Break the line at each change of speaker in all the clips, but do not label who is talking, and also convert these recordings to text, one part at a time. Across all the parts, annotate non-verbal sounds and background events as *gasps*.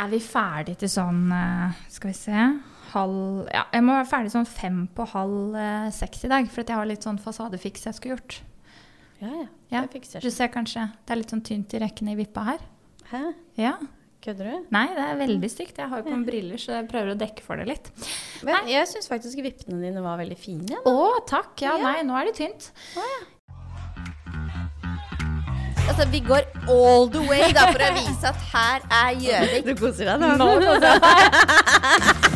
Er vi ferdig til sånn eh, Skal vi se halv, ja, Jeg må være ferdig sånn fem på halv eh, seks i dag, for at jeg har litt sånn fasadefiks jeg skulle gjort.
Ja, ja.
Ja.
Det fikser
Du
jeg.
ser kanskje det er litt sånn tynt i rekkene i vippa her.
Hæ?
Ja.
Kødder du?
Nei, det er veldig stygt. Jeg har jo på meg briller, så jeg prøver å dekke for det litt.
Men jeg syns faktisk vippene dine var veldig fine.
Å, takk. Ja,
Ja.
nei, nå er det tynt.
Altså, vi går all the way da, for å vise at her er Gjøvik.
Du koser deg
Nå koser jeg meg.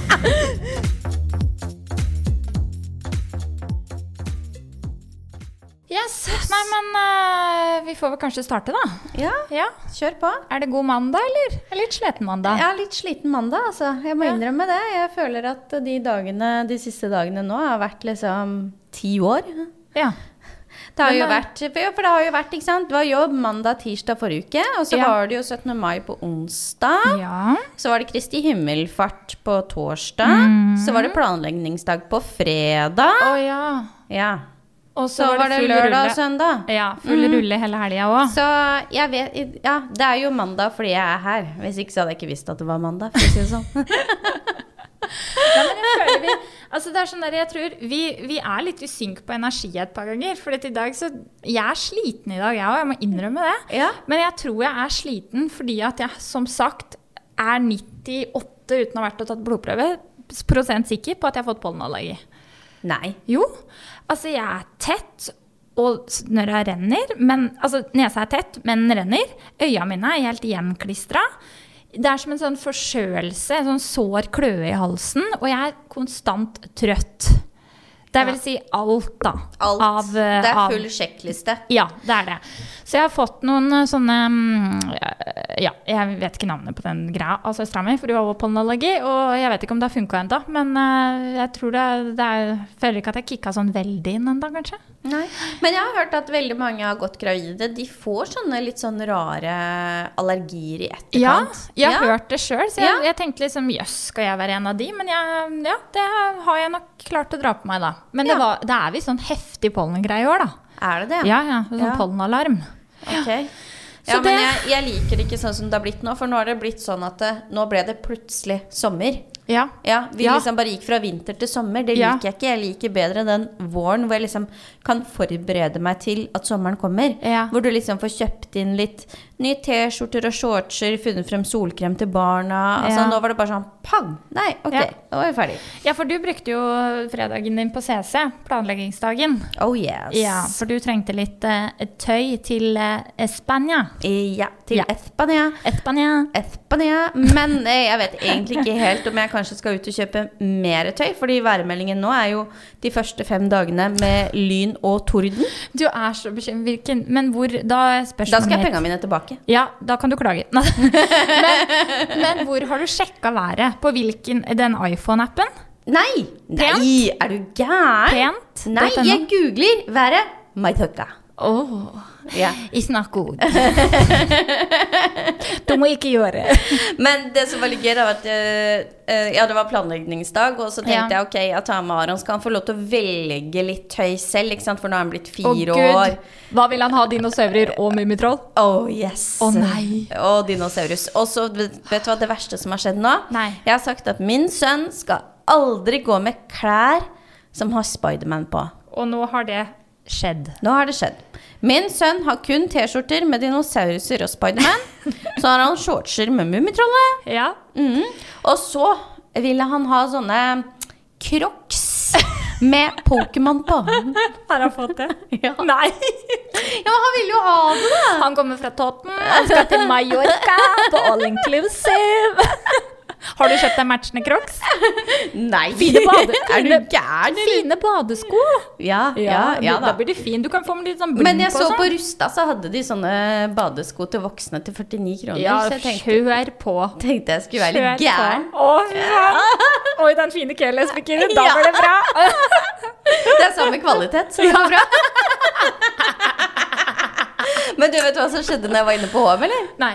Yes. Nei, men eh, vi får vel kanskje starte, da.
Ja,
Ja.
kjør på.
Er det god mandag, eller? En litt sliten mandag?
Jeg er litt sliten mandag, altså. Jeg må
Ja.
innrømme det. Jeg føler at de dagene, de siste dagene nå har vært liksom ti år.
Ja.
Det har
Men
jo
det-
vært, for ja, for det har jo vært, ikke sant. Det var jobb mandag, tirsdag forrige uke. Og så
Ja.
var det jo 17. mai på onsdag.
Ja.
Så var det Kristi himmelfart på torsdag. Så var
Mhm.
det planleggingsdag på fredag.
Å ja.
Ja.
Og
Så var det
full
lørdag og
rulle.
søndag.
Ja, full rulle hele helga òg.
Så jeg vet Ja, det er jo mandag fordi jeg er her. Hvis ikke så hadde jeg ikke visst at det var mandag. For å si det
*laughs*
sånn.
Altså, det er sånn der, jeg tror vi, vi er litt i synk på energi et par ganger. For i dag så Jeg er sliten i dag, jeg òg. Jeg må innrømme det.
Ja.
Men jeg tror jeg er sliten fordi at jeg som sagt er 98 uten å ha vært og tatt blodprøve prosent sikker på at jeg har fått pollenallergi.
Nei.
Jo, altså jeg er tett og s- når jeg renner, men, altså nesa er tett, men den renner. Øya mine er helt gjenklistra. Det er som en sånn forskjølelse, en sånn sår kløe i halsen, og jeg er konstant trøtt. Det vil si alt, da.
Alt.
Av, eh,
Det er
av-
full sjekkliste.
ja, det er det. Så jeg har fått noen eh, sånne mm, Ja, jeg vet ikke navnet på den greia av søstera mi, for hun har også pollenallergi. Og jeg vet ikke om det har funka ennå, men eh, jeg tror det, det er, føler ikke at jeg kicka sånn veldig inn ennå, kanskje.
Nei. Men jeg har hørt at veldig mange har gått gravide. De får sånne litt sånn rare allergier i
Ja,
etterkant.
jeg har hørt det sjøl, så jeg,
Ja.
jeg tenkte liksom jøss, skal jeg være en av de? Men jeg, ja, det har jeg nok klart å dra på meg, da. Men det,
Ja.
var, det er visst sånn heftig pollengreie i år, da.
Er det det?
Ja, ja. Sånn
Ja.
pollenalarm.
Ok.
Så
Ja, men
det-
jeg, jeg liker det ikke sånn som det har blitt nå, for nå har det blitt sånn at det, nå ble det plutselig sommer.
Ja.
Ja, vi
Ja.
liksom bare gikk fra vinter til sommer. Det liker
Ja.
jeg ikke. Jeg liker bedre den våren hvor jeg liksom kan forberede meg til at sommeren kommer.
Ja.
Hvor du liksom får kjøpt inn litt nye T-skjorter og shortser, funnet frem solkrem til barna. Altså,
Ja.
Nå var det bare sånn pang! Nei, ok,
Ja.
nå er vi ferdig.
ja, for du brukte jo fredagen din på CC, planleggingsdagen.
Oh yes.
Ja, for du trengte litt eh, tøy til eh, Spania.
Ja, til
Ja.
Espania.
Espania.
Espania. Men eh, jeg vet egentlig ikke helt om jeg kanskje skal ut og kjøpe mer tøy. Fordi værmeldingen nå er jo de første fem dagene med lyn og torden.
Du er så bekymret. Hvilken Men hvor Da er spørsmålet
Da skal jeg ha
mitt.
pengene mine tilbake.
Ja, da kan du klage. *laughs* Nei. men, men hvor har du sjekka været? På hvilken Den iPhone-appen?
Nei!
Pent?
Nei, er du gæren?
Pent?
Nei, jeg googler været Maitoka.
Åh,
Ja.
It's not *laughs* good. du må ikke gjøre det.
Men det som var litt gøy, da, var at eh, eh, ja, det var planleggingsdag, og så
Ja.
tenkte jeg ok, jeg tar med Aron, skal han få lov til å velge litt tøy selv, ikke sant? For nå er han blitt fire
Å,
år.
Hva vil han ha? Dinosaurer og mummitroll?
Oh yes.
Å, nei.
Og dinosaurus. Og så vet vet du hva det verste som har skjedd nå?
Nei.
Jeg har sagt at min sønn skal aldri gå med klær som har Spiderman på.
Og nå har det skjedd.
Nå har det skjedd. Min sønn har kun T-skjorter med dinosauruser og
*laughs*
Spiderman. så har han shortser med Mummitrollet.
Ja.
Mhm. Og så ville han ha sånne crocs med Pokémon på.
Har han fått det? *laughs* Nei!
Ja, men han ville jo ha det, da!
Han kommer fra Totten, han skal til Mallorca på all inclusive. *laughs* Har du kjøpt deg matchende crocs?
Nei!
*laughs* bade-
er du
fine-
gæren, eller?
Fine badesko.
Ja, ja, ja
da
da.
blir du fin. Du kan få med litt sånn blink
Men jeg så
og
på
sånn.
Rusta, så hadde de sånne badesko til voksne til 49 kroner.
Ja,
så jeg tenkte,
kjør på.
tenkte jeg skulle være
Kjør
litt gæren.
på. Å, ja. Oi, den fine Keles-bikinien. Da
Ja.
blir det bra.
*laughs* Det er samme kvalitet, så det er bra. Men du vet hva som skjedde når jeg var inne på HM, eller?
*laughs* Nei.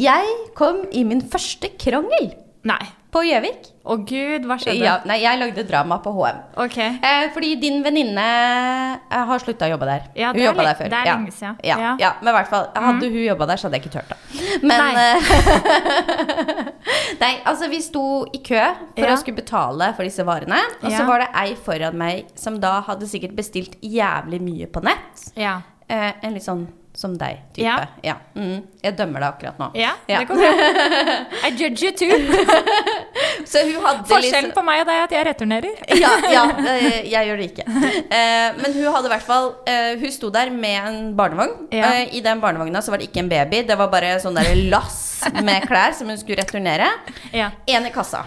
Jeg kom i min første krangel
Nei.
på Gjøvik.
Å gud, hva skjedde?
Ja, nei, jeg lagde drama på HM.
Ok.
Eh, fordi din venninne eh, har slutta å jobbe der.
Ja,
hun
det er
jobba
li-
der før.
det er
ja.
lenge siden.
Ja, ja.
Ja. Mhm. eh,
men i hvert fall, hadde hun jobba der, så hadde jeg ikke turt det. Men
Nei.
eh, Nei, altså vi sto i kø
Ja.
for å skulle betale for disse varene. Og så
Ja.
var det ei foran meg som da hadde sikkert bestilt jævlig mye på nett.
Ja.
Eh, en litt sånn som deg type.
Ja.
Ja. Mm, jeg dømmer deg akkurat nå.
ja,
Ja.
det går *laughs* bra. I judge you too.
Så hun hadde
Forskjellen
litt- sånn-
på meg og deg er at jeg returnerer.
ja, ja, eh, jeg gjør det ikke. Eh, Men hun hadde i hvert fall eh, Hun sto der med en barnevogn.
Ja.
Eh, I den barnevogna så var det ikke en baby, det var bare sånn der lass med klær som hun skulle returnere.
Ja.
Én i kassa.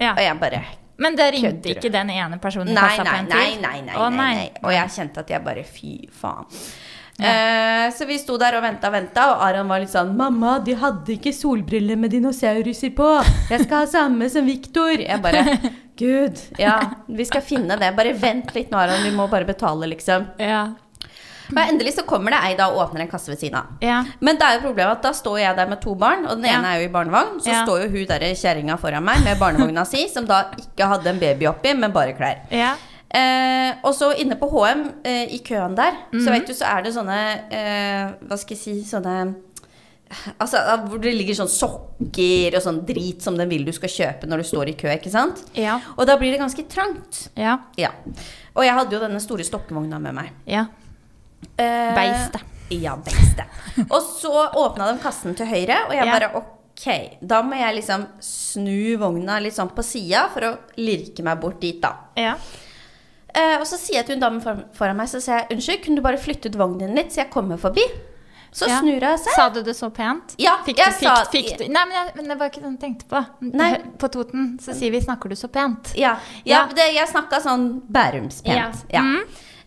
Ja.
Og jeg bare
Men det ringte
Kødder du?
ikke den ene personen i
Nei,
kassa på
nei,
en
nei,
tur?
nei, nei,
Å,
nei, nei. Og jeg kjente at jeg bare Fy faen.
Ja.
Eh, så vi sto der og venta og venta, og Aron var litt sånn 'Mamma, de hadde ikke solbriller med dinosauruser på. Jeg skal ha samme som Viktor.' Jeg bare *laughs* Gud. Ja, vi skal finne det. Bare vent litt nå, Aron. Vi må bare betale, liksom.
Ja.
Og endelig så kommer det ei da og åpner en kasse ved siden av.
ja.
Men det er jo problemet at da står jeg der med to barn, og den
Ja.
ene er jo i barnevogn. Så
Ja.
står jo hun derre kjerringa foran meg med barnevogna si, som da ikke hadde en baby oppi, men bare klær.
Ja.
Eh, og så inne på HM, eh, i køen der, så vet du, så er det sånne eh, Hva skal jeg si Sånne Altså, ah, hvor det ligger sånn sokker og sånn drit som den vil du skal kjøpe når du står i kø, ikke sant?
Ja.
Og da blir det ganske trangt.
Ja.
Ja. Og jeg hadde jo denne store stokkevogna med meg.
ja.
Eh,
Beistet.
Ja, beistet. Og så åpna de kassen til høyre, og jeg
Ja.
bare ok, da må jeg liksom snu vogna litt sånn på sida for å lirke meg bort dit, da.
ja.
Eh, og så sier jeg til hun damen for- foran meg, så sier jeg unnskyld, kunne du bare flytte ut vognen din litt, så jeg kommer forbi? Så
Ja.
snur hun seg.
Sa du det så pent?
Ja,
Fikk du,
jeg
fikk,
sa-
fikk du Nei, men, jeg, men det var ikke det jeg tenkte på.
Nei.
På Toten så sier vi 'snakker du så pent'? *laughs*
Ja,
Ja.
ja, Det, jeg snakka sånn bærumspent. Ja.
Ja. Mm.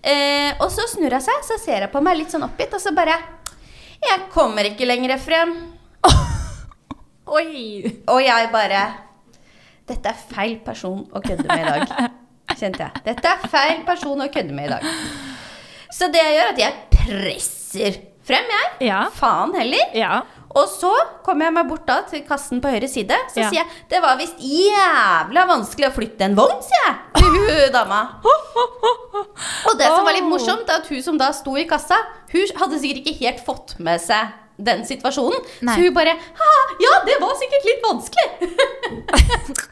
Eh, og så snur hun seg, så ser hun på meg litt sånn oppgitt, og så bare Jeg kommer ikke lenger frem.
Oi!
Og jeg bare Dette er feil person å kødde
*laughs*
med i dag. Kjente jeg. Dette er feil person å kødde med i dag. Så det jeg gjør, er at jeg presser frem, jeg.
Ja.
Faen heller.
Ja.
*laughs* Og så kommer jeg meg bort da til kassen på høyre side. Så
Ja.
sier jeg det var visst jævla vanskelig å flytte en vogn, sier jeg til hun dama. Og det som var litt
Oh.
morsomt, er at hun som da sto i kassa, hun hadde sikkert ikke helt fått med seg den situasjonen.
Nei.
Så hun bare ha, ja, det var sikkert litt vanskelig. *laughs*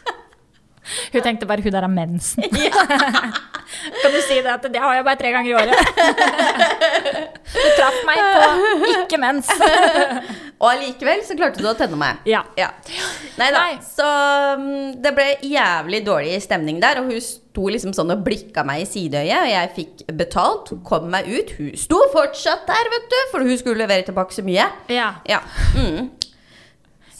Hun tenkte bare 'hun der har *laughs* mensen'. kan du si det? At det har jeg bare tre ganger i året. *laughs* du traff meg på ikke mens.
Og allikevel så klarte du å tenne meg.
Ja.
Nei da.
Nei.
Så mm, det ble jævlig dårlig stemning der. Og hun sto liksom sånn og blikka meg i sideøyet, og jeg fikk betalt. Kom meg ut. Hun sto fortsatt der, vet du, for hun skulle levere tilbake så mye.
*laughs* ja.
Ja. Mm.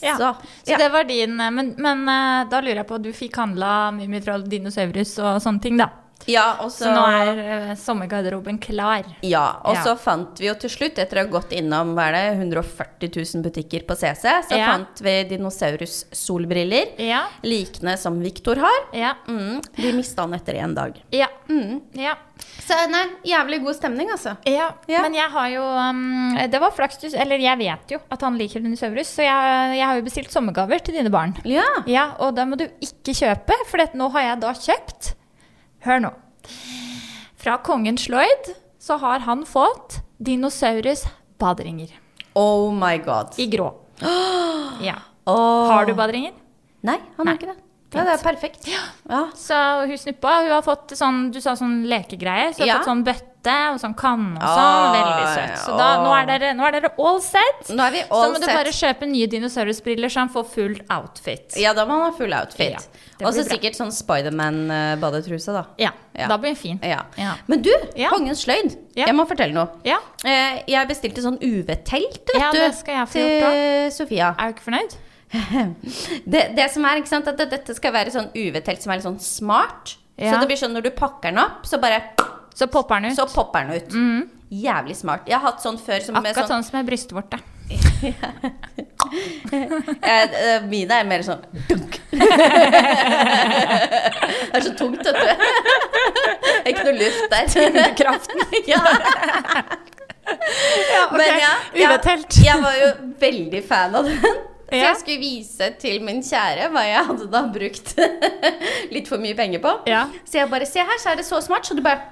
Ja.
Så,
Så
ja.
det var din eh, Men, men eh, da lurer jeg på, du fikk handla Mummitroll, dinosaurus og sånne ting, da.
ja, og så,
Så nå er eh, sommergarderoben klar.
ja, og
Ja.
så fant vi jo til slutt, etter å ha gått innom hva er det, 140 000 butikker på CC, så
Ja.
fant vi dinosaurus-solbriller
Ja.
likende som Viktor har.
Ja.
Mm, vi mista han etter én dag.
Ja.
Mm.
ja.
Så nei, jævlig god stemning, altså.
Ja,
Ja.
men jeg har jo um, Det var flaks du Eller jeg vet jo at han liker dinosaurus, så jeg, jeg har jo bestilt sommergaver til dine barn.
Ja.
Ja, og det må du ikke kjøpe, for det at nå har jeg da kjøpt Hør nå. Fra kongen Sloyd så har han fått dinosaurus baderinger
Oh my god.
i
*gasps*
grå. Ja.
Åh.
Har du baderinger?
Nei, han
Nei.
har ikke det. Ja, det er perfekt. Ja.
Så hun snuppa, hun har fått sånn Du sa sånn lekegreier. Så hun har
Ja.
fått sånn bøtte og sånn kanne og sånn.
Ah,
Veldig søtt. Så da, nå, er dere, nå er dere all set.
Nå er vi
Så
all
må du
set.
bare kjøpe nye dinosaurusbriller så han får full outfit.
Ja, da må han ha full outfit.
Ja, det
Og så
blir bra.
sikkert sånn Spiderman-badetruse, da.
Ja,
Ja.
da blir den fin.
Ja.
Ja.
Men du,
Ja.
kongens sløyd.
Ja.
Jeg må fortelle noe.
Ja,
Eh, jeg bestilte sånn UV-telt, vet
Ja,
du.
det skal jeg få
til
gjort
Sofia.
er du ikke fornøyd?
Det, det som er, ikke sant, at det- dette skal være sånn UV-telt som er litt sånn smart.
Ja.
Så det blir sånn når du pakker den opp, så bare
Så popper den ut.
Så popper den ut. Jævlig smart. Jeg har hatt sånn før som med
Mm-hmm. Akkurat
sånn
sånn som er
*laughs*
brystvorte.
Eh, eh, Mine er mer sånn
*laughs*
dunk. Det er så tungt, vet du. Det er ikke noe luft der.
Kraften.
Ja,
*laughs* Ja, ok.
men ja, jeg,
Uvetelt.
jeg var jo veldig fan av den. Så
Ja.
jeg skulle vise til min kjære hva jeg hadde da brukt *laughs* litt for mye penger på.
Ja.
Så jeg bare Se her, så er det så smart, så du bare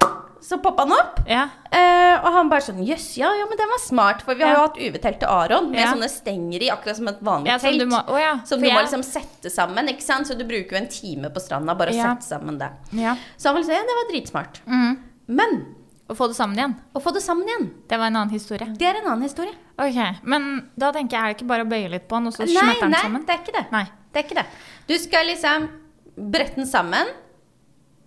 så poppa han opp.
Ja.
Eh, og han bare sånn Jøss, ja, ja, men den var smart. For vi har
Ja.
jo hatt UV-telt til Aron med
Ja.
sånne stenger i, akkurat som et vanlig
Ja, som
telt.
du må- å ja,
Som
for
du må
jeg-
liksom sette sammen, ikke sant. Så du bruker jo en time på stranda bare å
Ja.
sette sammen det.
ja.
Så han var liksom Ja, det var dritsmart.
Mm.
Men
Å få det sammen igjen.
å få det sammen igjen,
Det var en annen historie.
det er en annen historie.
Ok, Men da tenker jeg er det ikke bare å bøye litt på den, og så
Nei,
smetter den
nei,
sammen?
det er ikke det.
Nei.
Det er ikke det. Du skal liksom brette den sammen,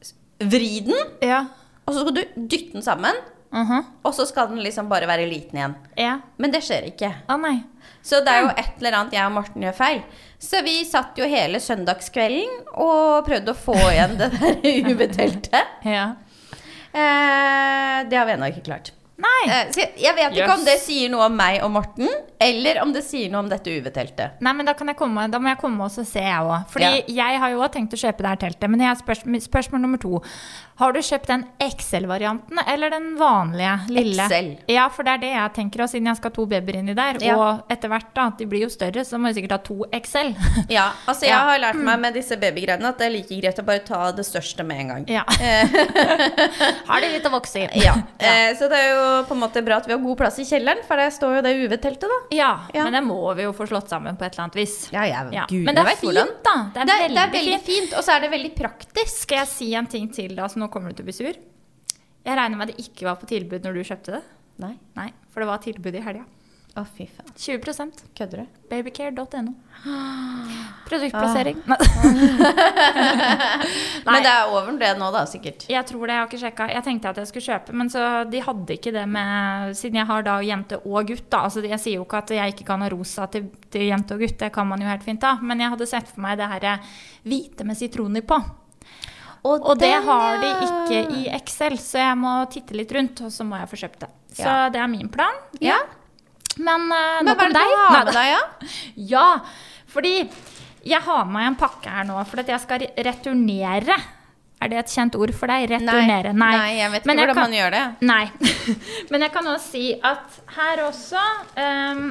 s- vri den,
Ja.
og så skal du dytte den sammen.
Mhm.
Og så skal den liksom bare være liten igjen.
Ja.
Men det skjer ikke.
Å nei.
Så det er jo et eller annet jeg og Morten gjør feil. Så vi satt jo hele søndagskvelden og prøvde å få igjen det der *laughs* UV-teltet.
Ja.
Eh, det har vi ennå ikke klart.
Nei.
Eh, så jeg, jeg vet ikke
Jøss.
om det sier noe om meg og Morten, eller om det sier noe om dette UV-teltet.
Nei, men da, kan jeg komme, da må jeg komme og så se, jeg òg. Fordi jeg har jo òg tenkt å kjøpe det her teltet. Men jeg har spørs, spørsmål nummer to. Har du kjøpt den XL-varianten eller den vanlige lille?
XL.
Ja, for det er det jeg tenker, og siden jeg skal ha to babyer inni der.
Ja.
Og etter hvert, da, at de blir jo større, så må jeg sikkert ha to XL.
*laughs* Ja, altså jeg
Ja.
har lært meg med disse babygreiene at det er like greit å bare ta det største med en gang. *laughs*
ja. har de litt å vokse i.
Eh. Ja, eh, Så det er jo på en måte bra at vi har god plass i kjelleren, for der står jo det UV-teltet, da.
ja.
Ja.
Men det må vi jo få slått sammen på et eller annet vis.
Ja, jeg,
Ja.
gudene
Men det er
vet hvordan.
fint, da. Det er,
Det er,
veldig,
det er veldig
fint.
fint, og så er det veldig praktisk.
Skal jeg si en ting til, da, så nå kommer du til å bli sur? Jeg regner med det ikke var på tilbud når du kjøpte det?
Nei.
Nei, for det var tilbud i helga.
Å, fy faen.
20
Kødder du?
Babycare.no. Produktplassering. Nei.
Men det er over det nå, da, sikkert.
*laughs* Jeg tror det, jeg har ikke sjekka. Jeg tenkte at jeg skulle kjøpe, men så de hadde ikke det med Siden jeg har da jente og gutt, da. Altså, jeg sier jo ikke at jeg ikke kan ha rosa til, til jente og gutt, det kan man jo helt fint da. Men jeg hadde sett for meg det her eh, hvite med sitroner på. Og det har de ikke i Excel, så jeg må titte litt rundt, og så må jeg få kjøpt det. Så
Ja.
det er min plan.
Ja.
Men, eh,
Men
nok
hva er
om
det
deg.
du har
Nei,
med deg, ja?
Ja, fordi jeg har med en pakke her nå, for at jeg skal re- returnere. Er det et kjent ord for deg? Returnere? Nei.
jeg vet ikke
Men jeg
hvordan
kan-
man gjør det.
Nei. *laughs* Men jeg kan også si at her også ehm,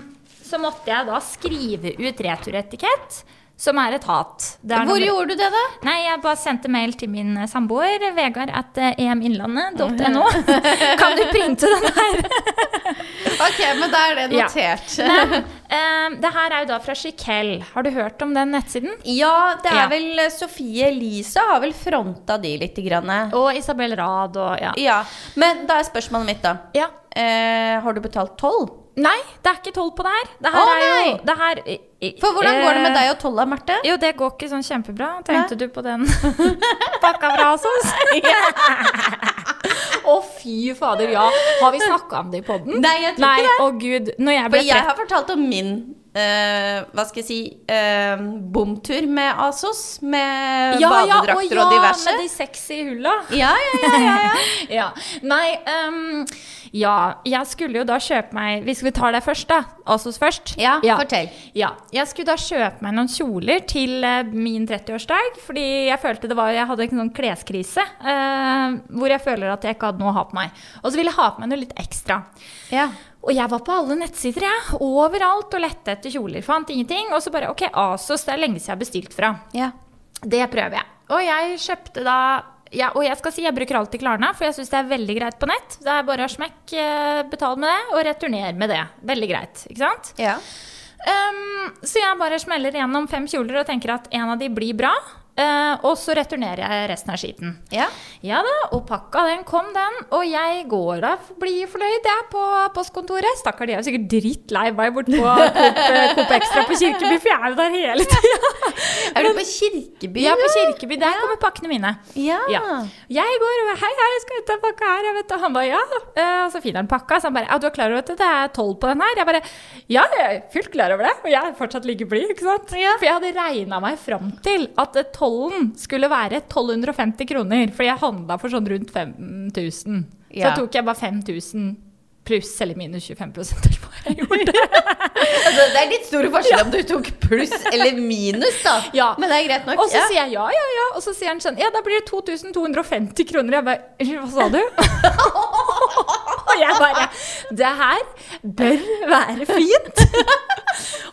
så måtte jeg da skrive ut returetikett, som er et hat. Det er
Hvor
nummer-
gjorde du det, da?
Nei, jeg bare sendte mail til min eh, samboer, Vegard, at eh, *laughs* eminnlandet.no. Kan du printe den her?
Ok, men da er det
Ja.
notert. Ja,
Nei. Ehm, det her er jo da fra Chiquel. Har du hørt om den nettsiden?
det er
Ja.
vel eh, Sofie Elise har vel fronta de lite grann. eh.
Og Isabel Rad og ja.
Ja. Men da er spørsmålet mitt, da.
ja.
Eh, har du betalt toll?
Nei, det er ikke toll på det her. Det her
Å,
er jo
nei!
det her, eh,
For hvordan går det med deg og tolla, Marte?
Jo, det går ikke sånn kjempebra. Tenkte du på den *laughs* altså. pakka fra Asos? *laughs* Å, fy fader, ja. Har vi snakka om det i poden?
Nei, jeg tror ikke
det. Å gud, når jeg ble
For jeg
trett
har fortalt om min eh, hva skal jeg si eh, bomtur med Asos. Med Eh, badedrakter
å
og diverse.
med de sexy hulla.
Ja, ja, *laughs* ja, ja, ja.
*laughs* ja. Nei, ehm, ja, jeg skulle jo da kjøpe meg Hvis vi tar deg først, da. Asos først.
Ja, fortell.
Ja. Jeg skulle da kjøpe meg noen kjoler til eh, min 30-årsdag, fordi jeg følte det var Jeg hadde en sånn kleskrise eh, hvor jeg føler at jeg ikke hadde noe å ha på meg. Og så ville jeg ha på meg noe litt ekstra.
ja.
Og jeg var på alle nettsider, jeg. Overalt og lette etter kjoler. Fant ingenting. Og så bare OK, Asos, det er lenge siden jeg har bestilt fra.
ja.
Det prøver jeg. Og jeg kjøpte da ja, Og jeg skal si jeg bruker alltid Klarna, for jeg syns det er veldig greit på nett. Det er bare å smekk, eh, betal med det, og returner med det. Veldig greit, ikke sant?
ja.
Ehm, så jeg bare smeller gjennom fem kjoler og tenker at en av de blir bra. eh, og så returnerer jeg resten av skiten.
ja.
Ja da, og pakka den kom den, og jeg går da, blir fornøyd jeg på postkontoret. Stakkar, de er jo sikkert drittlei meg bortpå Coop eh, Coop Extra på Kirkeby, for jeg er jo der hele tida.
Er du på Kirkebyen?
Ja, på Kirkeby, der kommer pakkene mine.
Ja.
Ja. Jeg går og bare, hei, hei, skal jeg ta pakka her? Jeg vet, det». han bare ja. Eh, Og så finner han pakka. Så han bare ja, du er klar over at det er tolv på den her? Jeg bare ja, jeg er fullt klar over det. Og jeg er fortsatt like blid, ikke sant? For jeg hadde regna meg fram til at eh, tollen skulle være 1250 kroner. For jeg handla for sånn rundt 5000. Så
Ja.
tok jeg bare 5000 pluss eller minus 25 eller hva jeg gjorde. *laughs*
Altså, det er litt store forskjeller om du tok pluss eller minus, da.
Ja.
Men det er greit nok.
Og så
ja.
sier jeg ja, ja, ja. Og så sier han sånn, ja, da blir det 2250 kroner. Jeg bare, hva sa du? *laughs* Og jeg bare Det her bør være fint.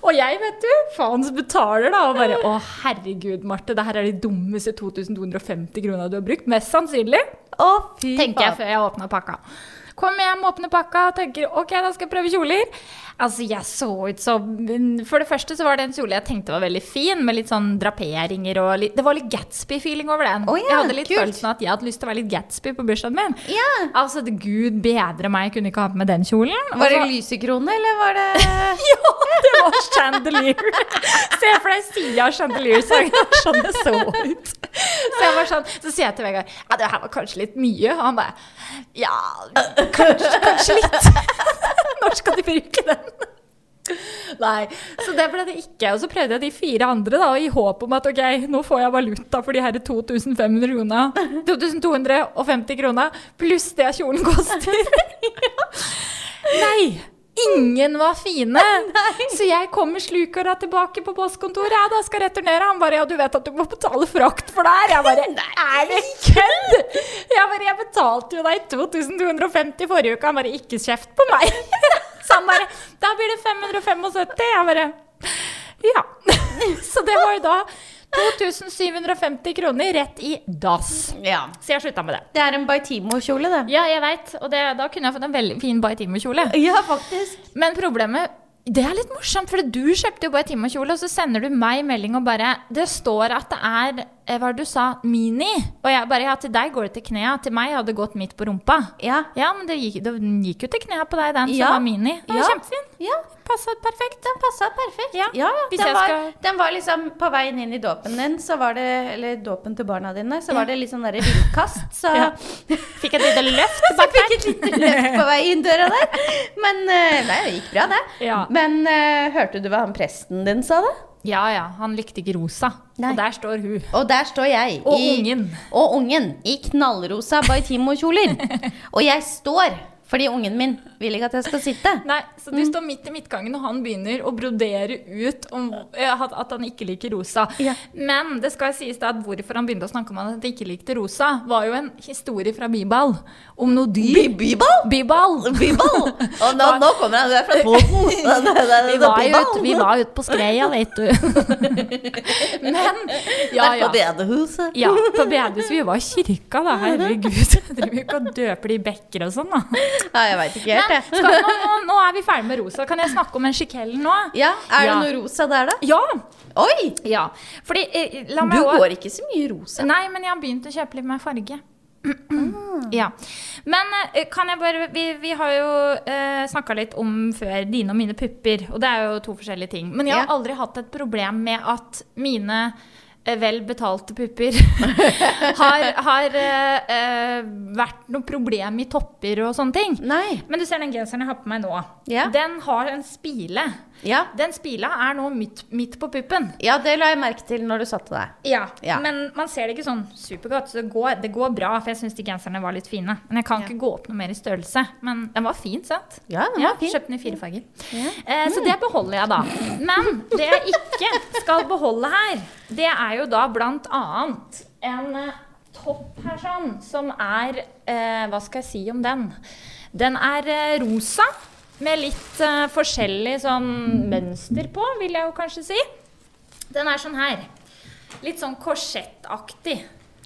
og jeg, vet du, faen så betaler da. Og bare Å, herregud, Marte. Det her er de dummeste 2250 kronene du har brukt. Mest sannsynlig.
Å, fy
Tenker jeg
faen.
før jeg åpner pakka. Kom hjem, åpner pakka, tenker ok, da skal jeg prøve kjoler. Altså, jeg så ut som For det første så var det en kjole jeg tenkte var veldig fin, med litt sånn draperinger og litt Det var litt Gatsby-feeling over den.
Å ja,
jeg hadde litt
kult.
følelsen av at jeg hadde lyst til å være litt Gatsby på bursdagen min.
Ja.
Altså, det- gud bedre meg, jeg kunne ikke ha på meg den kjolen. Altså, Og
Var det
så-
lysekrone, eller var det
*laughs* ja, det var chandelier. Se for deg sida av chandelier, *laughs* så det var sånn det så ut. Så jeg var sånn, så sier jeg til Vegard ja, det her var kanskje litt mye. Og han bare ja, kanskje, kanskje litt. *laughs* Når skal de bruke den? Nei, så det ble det ikke. Og så prøvde jeg de fire andre da, i håp om at ok, nå får jeg valuta for de her 2500 krona, 2250 krona, pluss det kjolen koster. Nei! Ingen var fine! Så jeg kommer slukåra tilbake på postkontoret. Ja, da skal jeg returnere. Han bare ja, du vet at du må betale frakt for det her. Jeg bare er det kødd?! Jeg bare jeg betalte jo deg 2250 forrige uke. Han bare ikke kjeft på meg. *laughs* Så han bare da blir det 575. Jeg bare ja. *laughs* Så det var jo da 2750 kroner rett i dass.
Ja.
Så jeg slutta med det.
Det er en Baitimo-kjole, det.
Ja, jeg veit. Og det, da kunne jeg fått en veldig fin Baitimo-kjole.
Ja, faktisk.
Men problemet Det er litt morsomt, for du kjøpte jo bare timekjole, og så sender du meg melding og bare Det står at det er eh, hva var det du sa, mini. Og jeg bare Ja, til deg går det til knea. Til meg hadde det gått midt på rumpa.
Ja.
Ja, men det gikk, det gikk jo til knea på deg, den som
Ja.
var mini. Ja,
Ja.
Kjempefin.
ja.
Passa perfekt.
Den passa perfekt.
Ja, hvis
den,
jeg
var,
skal-
den var liksom på veien inn i dåpen din, så var det, eller dåpen til barna dine, så var det litt sånn derre villkast, så
*laughs* Ja. Fikk et lite løft
*laughs* Så
bak
fikk et lite løft på vei inn døra der. Men eh, Nei, det gikk bra, det.
Ja.
Men eh, hørte du hva han presten din sa, da?
*laughs* Ja ja, han likte ikke rosa.
Nei.
Og der står hun.
Og der står jeg.
Og ungen.
Og ungen i knallrosa Baitimo-kjoler. og jeg står fordi ungen min vil ikke at jeg skal sitte.
Nei, så
Mm.
du står midt i midtgangen, og han begynner å brodere ut om eh, at, at han ikke liker rosa.
Ja.
Men det skal sies da at hvorfor han begynte å snakke om at han ikke likte rosa, var jo en historie fra Bibal om noe dyr.
Byball!
Bibal!
Byball! Og nå, nå kommer han, du er fra
*laughs*
Toten.
Vi var jo ute vi var ute på skreia, vet du. *laughs* Men ja,
Vært på
ja.
bedehuset.
Ja, på bedehuset. Vi var i kirka, da. Herregud. *laughs* Jeg driver jo ikke og døper de i bekker og sånn, da.
Ja, jeg veit ikke
Men
helt,
skal,
jeg.
nå, nå, nå er vi ferdig med rosa. Kan jeg snakke om en skikell nå?
Ja, er det
Ja.
noe rosa der, da?
Ja!
Oi!
Ja, fordi eh, la
Du
meg også-
går ikke så mye rosa.
Nei, men jeg har begynt å kjøpe litt mer farge.
Ah.
Ja. Men eh, kan jeg bare Vi, vi har jo eh, snakka litt om før dine og mine pupper, og det er jo to forskjellige ting. Men jeg har
Ja.
aldri hatt et problem med at mine eh, vel betalte pupper
*laughs*
har, har eh, eh, vært noe problem i topper og sånne ting.
Nei.
Men du ser den genseren jeg har på meg nå.
Ja.
Den har en spile.
Ja.
Den spila er nå midt, midt på puppen.
ja, det la jeg merke til når du satte deg.
Ja,
Ja.
men man ser det ikke sånn supergodt. Så det går, det går bra, for jeg syns de genserne var litt fine. Men jeg kan
Ja.
ikke gå opp noe mer i størrelse. Men den var fin, sant?
Ja, den var fin.
Kjøpte den i fire farger.
Ja.
Eh, så det beholder jeg, da. Men det jeg ikke skal beholde her, det er jo da blant annet en eh, topp her sånn, som er eh, Hva skal jeg si om den? Den er eh, rosa med litt eh, forskjellig sånn mønster på, vil jeg jo kanskje si. Den er sånn her. Litt sånn korsettaktig.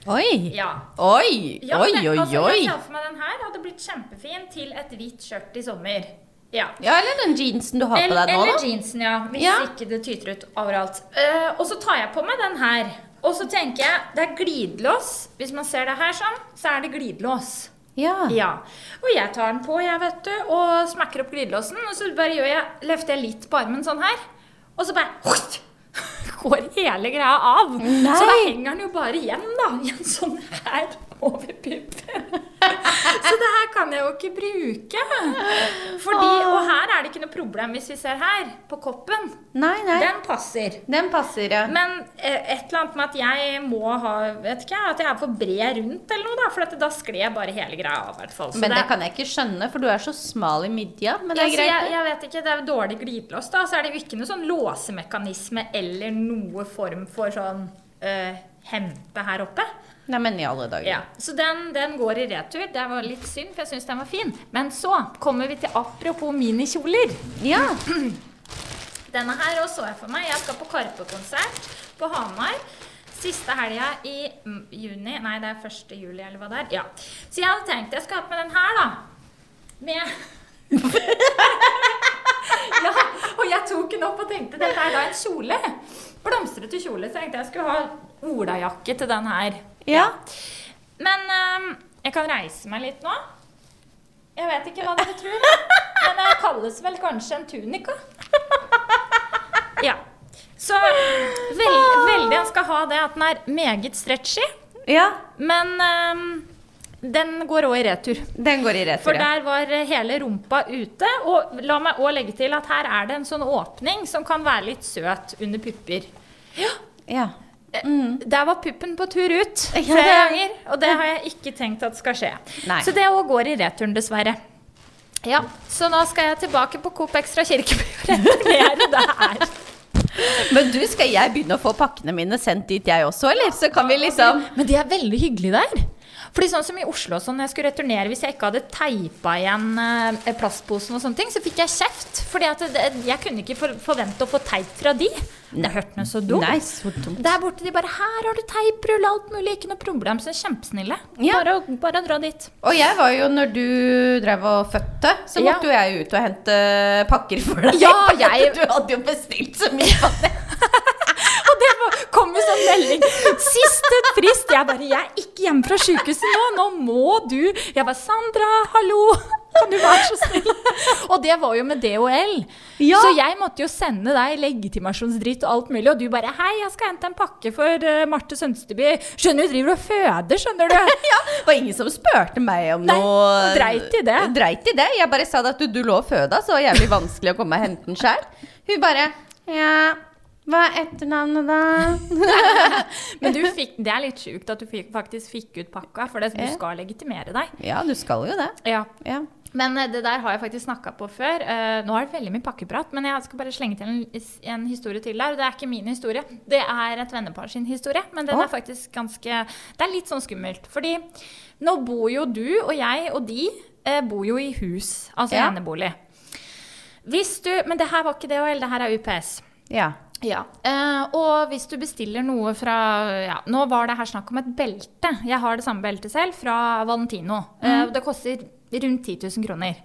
Oi!
Ja.
Oi,
Ja,
oi,
det-
oi,
altså, Jeg
oi.
ser for meg den her hadde blitt kjempefin til et hvitt skjørt i sommer. Ja.
Ja, eller den jeansen du har på
Eller,
deg nå,
eller
da.
jeansen, ja. Hvis
Ja.
ikke det tyter ut overalt. Eh, og så tar jeg på meg den her. Og så tenker jeg, det er glidelås. Hvis man ser det her sånn, så er det glidelås.
Ja.
Ja. Og jeg tar den på, jeg, vet du, og smekker opp glidelåsen. Og så bare gjør jeg, løfter jeg litt på armen sånn her, og så bare hoist, *laughs* går hele greia av.
Nei.
Så da henger den jo bare igjen, da. *laughs* I en sånn her over puppen. *laughs* Så det her kan jeg jo ikke bruke. Fordi, og her er det ikke noe problem hvis vi ser her, på koppen.
Nei, nei.
Den passer.
Den passer, ja.
Men eh, et eller annet med at jeg må ha Vet ikke, jeg, at jeg er for bred rundt eller noe, da. For at da skled bare hele greia av, i hvert fall. Så
Men det kan jeg ikke skjønne, for du er så smal i midja. Men det
Ja,
er
så jeg,
greit. det.
jeg vet ikke, Det er jo dårlig glidelås, da. Så er det jo ikke noe sånn låsemekanisme eller noe form for sånn eh, hempe her oppe.
Nei, men i alle dager.
Ja, så den, den går i retur. Det var litt synd, for jeg syns den var fin. Men så kommer vi til apropos minikjoler.
Ja.
Denne her også så jeg for meg. Jeg skal på Karpe-konsert på Hamar. Siste helga i mm, juni Nei, det er 1. juli, eller hva det er. Ja. Så jeg hadde tenkt jeg skal ha på meg den her, da. Med *laughs* Ja, og jeg tok den opp og tenkte dette er da en kjole. Blomstrete kjole. Så jeg tenkte jeg skulle ha olajakke til den her.
ja.
Men ehm, jeg kan reise meg litt nå. Jeg vet ikke hva dere tror, men det kalles vel kanskje en tunika. Ja. Så vel, veldig en skal ha det at den er meget stretchy,
Ja.
men ehm, den går òg i retur.
Den går i
For
retur. ja.
der var hele rumpa ute. Og la meg òg legge til at her er det en sånn åpning som kan være litt søt under pupper.
Ja.
Der var puppen på tur ut
Mm. Ja.
flere ganger, og det har jeg ikke tenkt at skal skje.
Nei.
Så det òg går i returen, dessverre. Ja, Så nå skal jeg tilbake på Coop Extra Kirkeby og
*laughs*
returnere det her.
Men du, skal jeg begynne å få pakkene mine sendt dit jeg også, eller? Så kan vi liksom
Men de er veldig hyggelige der. Fordi sånn som I Oslo, sånn, når jeg skulle returnere, hvis jeg ikke hadde teipa igjen eh, plastposen, og sånne ting, så fikk jeg kjeft. Fordi at det, jeg kunne ikke for, forvente å få teip fra de. Det hørtes noe så dumt
Nei, så dumt.
Der borte de bare 'Her har du teiprull, alt mulig, ikke noe problem.' Så kjempesnille.
Ja.
Bare, å- bare å dra dit. *laughs*
Og jeg var jo, når du drev og fødte, så
Ja.
måtte jo jeg ut og hente eh, pakker for deg. *laughs*
Ja,
For at
jeg-
Du hadde jo bestilt så mye på det.
Og det var- kom jo sånn melding. Siste frist. Jeg bare 'Jeg er ikke hjemme fra sykehuset nå. Nå må du.' Jeg bare 'Sandra, hallo. Kan du være så snill?' *laughs* Og det var jo med DHL.
Ja.
Så jeg måtte jo sende deg legitimasjonsdritt og alt mulig. Og du bare 'Hei, jeg skal hente en pakke for eh, Marte Sønsteby'. Skjønner du, driver og føder, skjønner du.
*laughs* Ja, det var ingen som spurte meg om
Nei,
noe
dreit i det.
Dreit i det. Jeg bare sa det at du, du lå og føda, så det var jævlig vanskelig å komme og hente den sjøl. Hun bare Ja, hva er etternavnet, da?
*laughs* Men du fikk, det er litt sjukt at du fikk, faktisk fikk ut pakka, for det, du
Ja.
skal legitimere deg.
Ja, du skal jo det.
Ja,
Ja.
Men eh, det der har jeg faktisk snakka på før. Eh, nå har det veldig mye pakkeprat, men jeg skal bare slenge til en, en historie til der. Og det er ikke min historie, det er et vennepar sin historie. Men den
Å.
er faktisk ganske Det er litt sånn skummelt. Fordi nå bor jo du og jeg og de eh, bor jo i hus, altså
Ja.
enebolig. Hvis du Men det her var ikke DHL, det her er UPS.
ja.
Ja, eh, og hvis du bestiller noe fra ja, Nå var det her snakk om et belte. Jeg har det samme beltet selv, fra Valentino. Eh, og det koster rundt 10 000 kroner.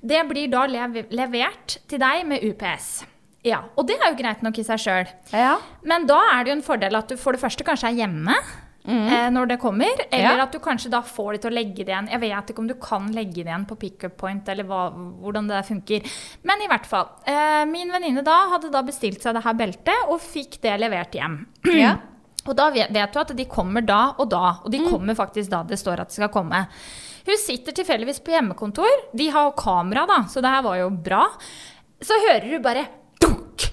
Det blir da lev levert til deg med UPS. Ja, Og det er jo greit nok i seg sjøl.
Ja.
Men da er det jo en fordel at du for det første kanskje er hjemme. eh, Når det kommer, eller
Ja.
at du kanskje da får det til å legge det igjen. Jeg vet ikke om du kan legge det igjen på pickup point, eller hva, hvordan det funker. Men i hvert fall. eh, Min venninne da hadde da bestilt seg det her beltet, og fikk det levert hjem. *clears throat*
ja.
Og da vet, vet du at de kommer da og da, og de kommer faktisk da det står at de skal komme. Hun sitter tilfeldigvis på hjemmekontor, de har jo kamera da, så det her var jo bra. Så hører hun bare dunk!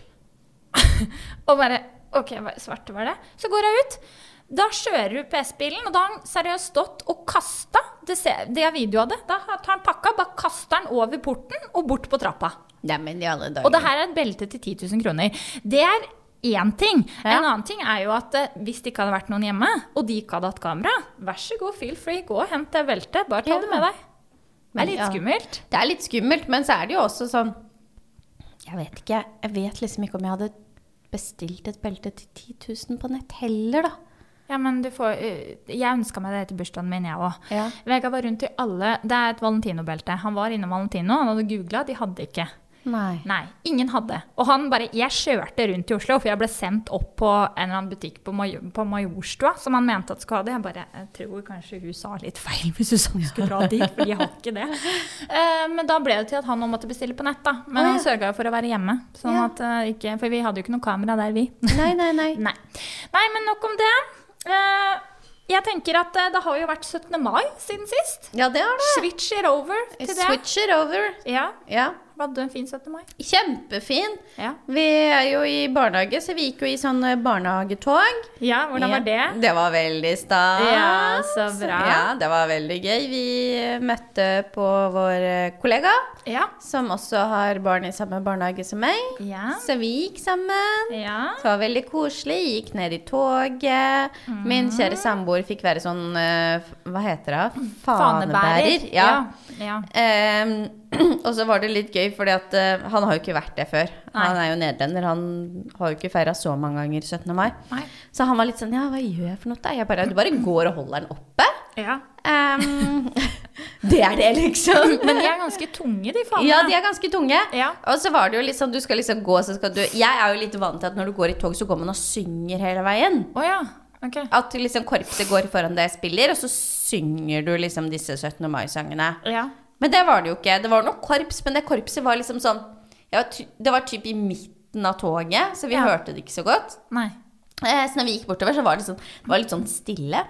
*laughs* og bare OK, hva- svarte var det. Så går hun ut. Da kjører hun PS-bilen, og da har han seriøst stått og kasta det, ser- det er video av det. Da tar han pakka, bare kaster den over porten og bort på trappa.
Neimen, i alle dager.
Og det her er et belte til 10 000 kroner. Det er én ting.
Ja.
En annen ting er jo at eh, hvis det ikke hadde vært noen hjemme, og de ikke hadde hatt kamera, vær så god, feel free, gå og hent det beltet. Bare ta
Ja.
det med deg. Det
Men
er litt
ja.
skummelt.
Det er litt skummelt, men så er det jo også sånn Jeg vet ikke. Jeg vet liksom ikke om jeg hadde bestilt et belte til 10 000 på nett heller, da.
Ja, men du får, eh, jeg ønska meg det til bursdagen min, jeg òg.
Ja.
Vegard var rundt i alle Det er et Valentino-belte. Han var innom Valentino, han hadde googla, de hadde ikke.
Nei.
Nei, ingen hadde. Og han bare Jeg kjørte rundt i Oslo, for jeg ble sendt opp på en eller annen butikk på, Major, på Majorstua som han mente at skulle ha det. Jeg bare jeg tror kanskje hun sa litt feil hvis hun sa hun skulle dra dit, for de har ikke det.
*laughs*
Eh, men da ble det til at han nå måtte bestille på nett, da. Men
Å,
han
ja.
sørga jo for å være hjemme. Sånn
Ja.
at eh, ikke For vi hadde jo ikke noe kamera der, vi.
Nei, nei, nei.
*laughs* Nei. Nei, men nok om det. Eh, jeg tenker at eh, det har jo vært 17. mai siden sist.
Ja, det har det.
Switcher over til det.
Switcher over.
Ja.
Ja.
Hadde du en fin 17. mai?
Kjempefin.
Ja.
Vi er jo i barnehage, så vi gikk jo i sånn eh, barnehagetog.
ja hvordan var det?
Ja, Det var veldig stas.
Ja, så bra.
Ja, det var veldig gøy. Vi eh, møtte på vår eh, kollega,
Ja.
som også har barn i samme barnehage som meg.
Ja.
Så vi gikk sammen.
ja.
Det var veldig koselig. Gikk ned i toget. Min kjære samboer fikk være sånn eh, f- Hva heter det? Fanebærer. Ja.
ja.
Ehm, *clears throat* og så var det litt gøy, fordi at eh, han har jo ikke vært det før.
Nei.
Han er jo nederlender. Han har jo ikke feira så mange ganger 17. mai.
Nei.
Så han var litt sånn Ja, hva gjør jeg for noe, da? Jeg bare, du bare går og holder den oppe.
Ja.
Ehm, *laughs* det er det, liksom.
*laughs* Men de er ganske tunge, de fanene.
Ja, de er ganske tunge.
Ja.
Og så var det jo litt sånn, du skal liksom gå, så skal du Jeg er jo litt vant til at når du går i tog, så går man og synger hele veien.
Å ja. Ok.
At liksom korpset går foran deg og spiller, og så synger du liksom disse 17. mai-sangene.
Ja.
Men det var det jo ikke. Det var noe korps, men det korpset var liksom sånn ja, ty- Det var typ i midten av toget, så vi
Ja.
hørte det ikke så godt.
Nei.
Eh, så når vi gikk bortover, så var det, sånn, det var litt sånn stille.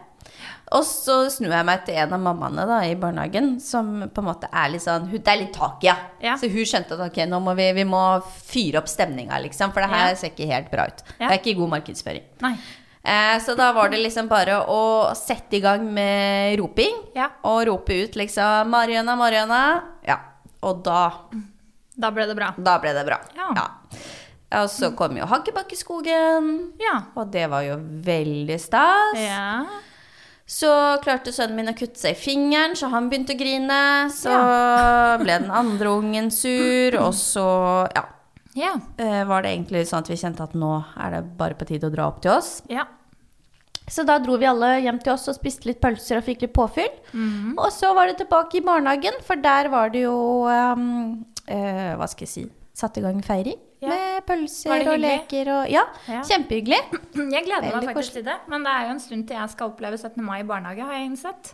Og så snur jeg meg til en av mammaene da, i barnehagen, som på en måte er litt sånn hun, Det er litt tak i ja.
Ja.
Så hun skjønte at ok, nå må vi, vi må fyre opp stemninga, liksom. For det her
Ja.
ser ikke helt bra ut.
Ja.
Det er ikke god markedsføring.
Nei.
Eh, så da var det liksom bare å sette i gang med roping.
Ja.
Og rope ut liksom 'Mariana, Mariana'. Ja. Og da,
Da ble det bra.
da ble det bra.
Ja.
Ja, Og så kom jo Hakkebakkeskogen.
Ja.
Og det var jo veldig stas.
Ja.
Så klarte sønnen min å kutte seg i fingeren, så han begynte å grine. Så ble den andre ungen sur, og så ja,
Ja.
eh, var det egentlig sånn at vi kjente at nå er det bare på tide å dra opp til oss.
Ja.
Så da dro vi alle hjem til oss og spiste litt pølser og fikk litt påfyll.
Mm.
Og så var det tilbake i barnehagen, for der var det jo ehm, eh, Hva skal jeg si Satt i gang feiring
Ja.
med
Var
pølser
det
og
hyggelig?
leker og Ja,
Ja.
kjempehyggelig. *laughs*
Jeg gleder meg
Veldig
faktisk til det, men det er jo en stund til jeg skal oppleve 17. mai i barnehage, har jeg innsett.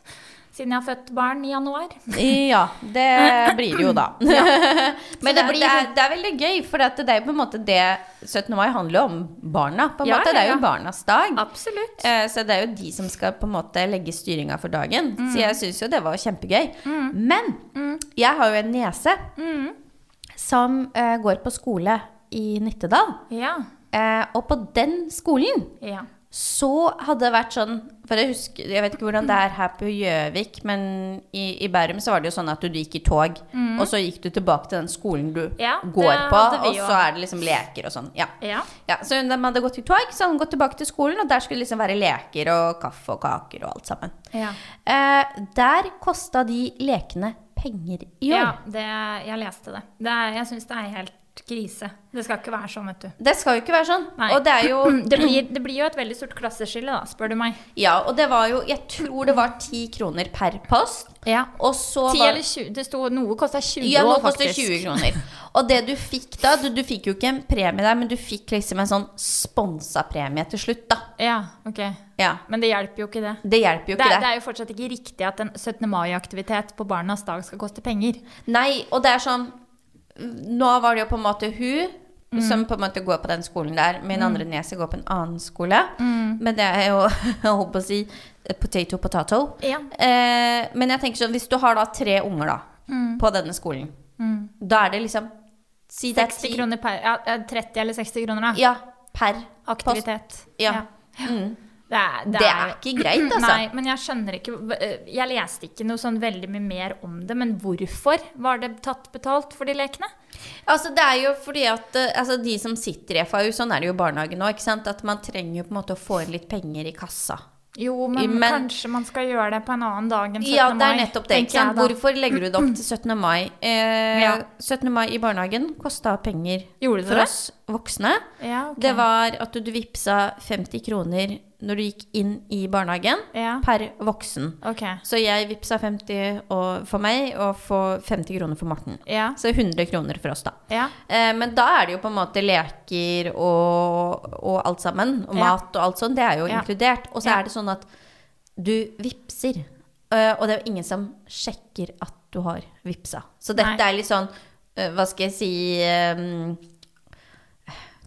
Siden jeg har født barn i januar.
Ja, det blir det jo da. *laughs* Men det,
det blir-
det, er, det er veldig gøy, for at det er jo på en måte det 17. mai handler om barna. På en
Ja,
måte. Det er
ja, ja.
jo barnas dag.
Absolutt.
Eh, Så det er jo de som skal på en måte legge styringa for dagen.
Mm.
Så jeg syns jo det var kjempegøy. Men jeg har jo en niese
Mm.
som eh, går på skole i Nittedal.
Ja.
Eh, og på den skolen
Ja.
så hadde det vært sånn for jeg, husker, jeg vet ikke hvordan det er her på Gjøvik, men i, i Bærum så var det jo sånn at du gikk i tog, og så gikk du tilbake til den skolen du
Mm. Ja, det
går på,
hadde vi
og
jo.
så er det liksom leker og sånn. Ja.
Ja.
Ja, så hun- de hadde gått i tog, så hadde hun gått tilbake til skolen, og der skulle det liksom være leker og kaffe og kaker og alt sammen.
Ja.
Eh, der kosta de lekene penger i år.
ja det, jeg leste det. det er, jeg syns det er helt krise. Det skal ikke være sånn, vet du.
Det skal jo ikke være sånn.
Nei.
Og det er jo
*clears throat* Det blir, det blir jo et veldig stort klasseskille, da, spør du meg.
Ja, og det var jo Jeg tror det var ti kroner per post.
Ja.
Og så
10
var
eller 20, det sto noe kosta 20
Ja, nå
år,
koster
faktisk.
20 kroner. Og det du fikk da du, du fikk jo ikke en premie der, men du fikk liksom en sånn sponsa premie til slutt, da.
Ja, ok.
Ja.
Men det hjelper jo ikke det.
Det hjelper jo
Det
ikke,
er,
det.
det er jo fortsatt ikke riktig at en 17. mai-aktivitet på barnas dag skal koste penger.
Nei, og det er sånn Nå var det jo på en måte hun som på en måte går på den skolen der. Min andre niese går på en annen skole.
Mm.
Men det er jo, *laughs* jeg holdt på å si, eh, potato potato.
Ja.
Eh, men jeg tenker sånn, hvis du har da tre unger da,
Mm,
på denne skolen, da er det liksom Si det er
60
ti
kroner per, ja, eh, 30 eller 60 kroner da.
ja, per post.
aktivitet.
Ja. Mm.
Det er,
Det er ikke greit, *clears throat* altså.
Mm, Nei, men jeg skjønner ikke eh, Jeg leste ikke noe sånn veldig mye mer om det, men hvorfor var det tatt betalt for de lekene?
Altså, det er jo fordi at eh, altså, de som sitter i FAU, sånn er det jo i barnehagen òg, ikke sant, at man trenger jo på en måte å få inn litt penger i kassa.
Jo, men,
Men-
kanskje man skal gjøre det på en annen dag enn 17.
Ja, det er
mai,
nettopp det.
tenker
Ikke sant?
jeg da.
Hvorfor legger du
*clears throat*
det opp til 17. mai? Eh,
Ja.
17. mai i barnehagen kosta penger
Gjorde det
for
det?
oss voksne.
Ja, ok.
Det var at du vippsa 50 kroner når du gikk inn i barnehagen,
Ja.
per voksen.
Ok.
Så jeg vippsa 50 og, for meg og for 50 kroner for Morten.
Ja.
Så 100 kroner for oss, da.
Ja.
Eh, men da er det jo på en måte leker og, og alt sammen, og
Ja.
mat og alt sånt, det er jo
Ja.
inkludert. Og så
Ja.
er det sånn at du vipser, eh, og det er jo ingen som sjekker at du har vipsa. Så dette
Nei.
er litt sånn, eh, hva skal jeg si eh,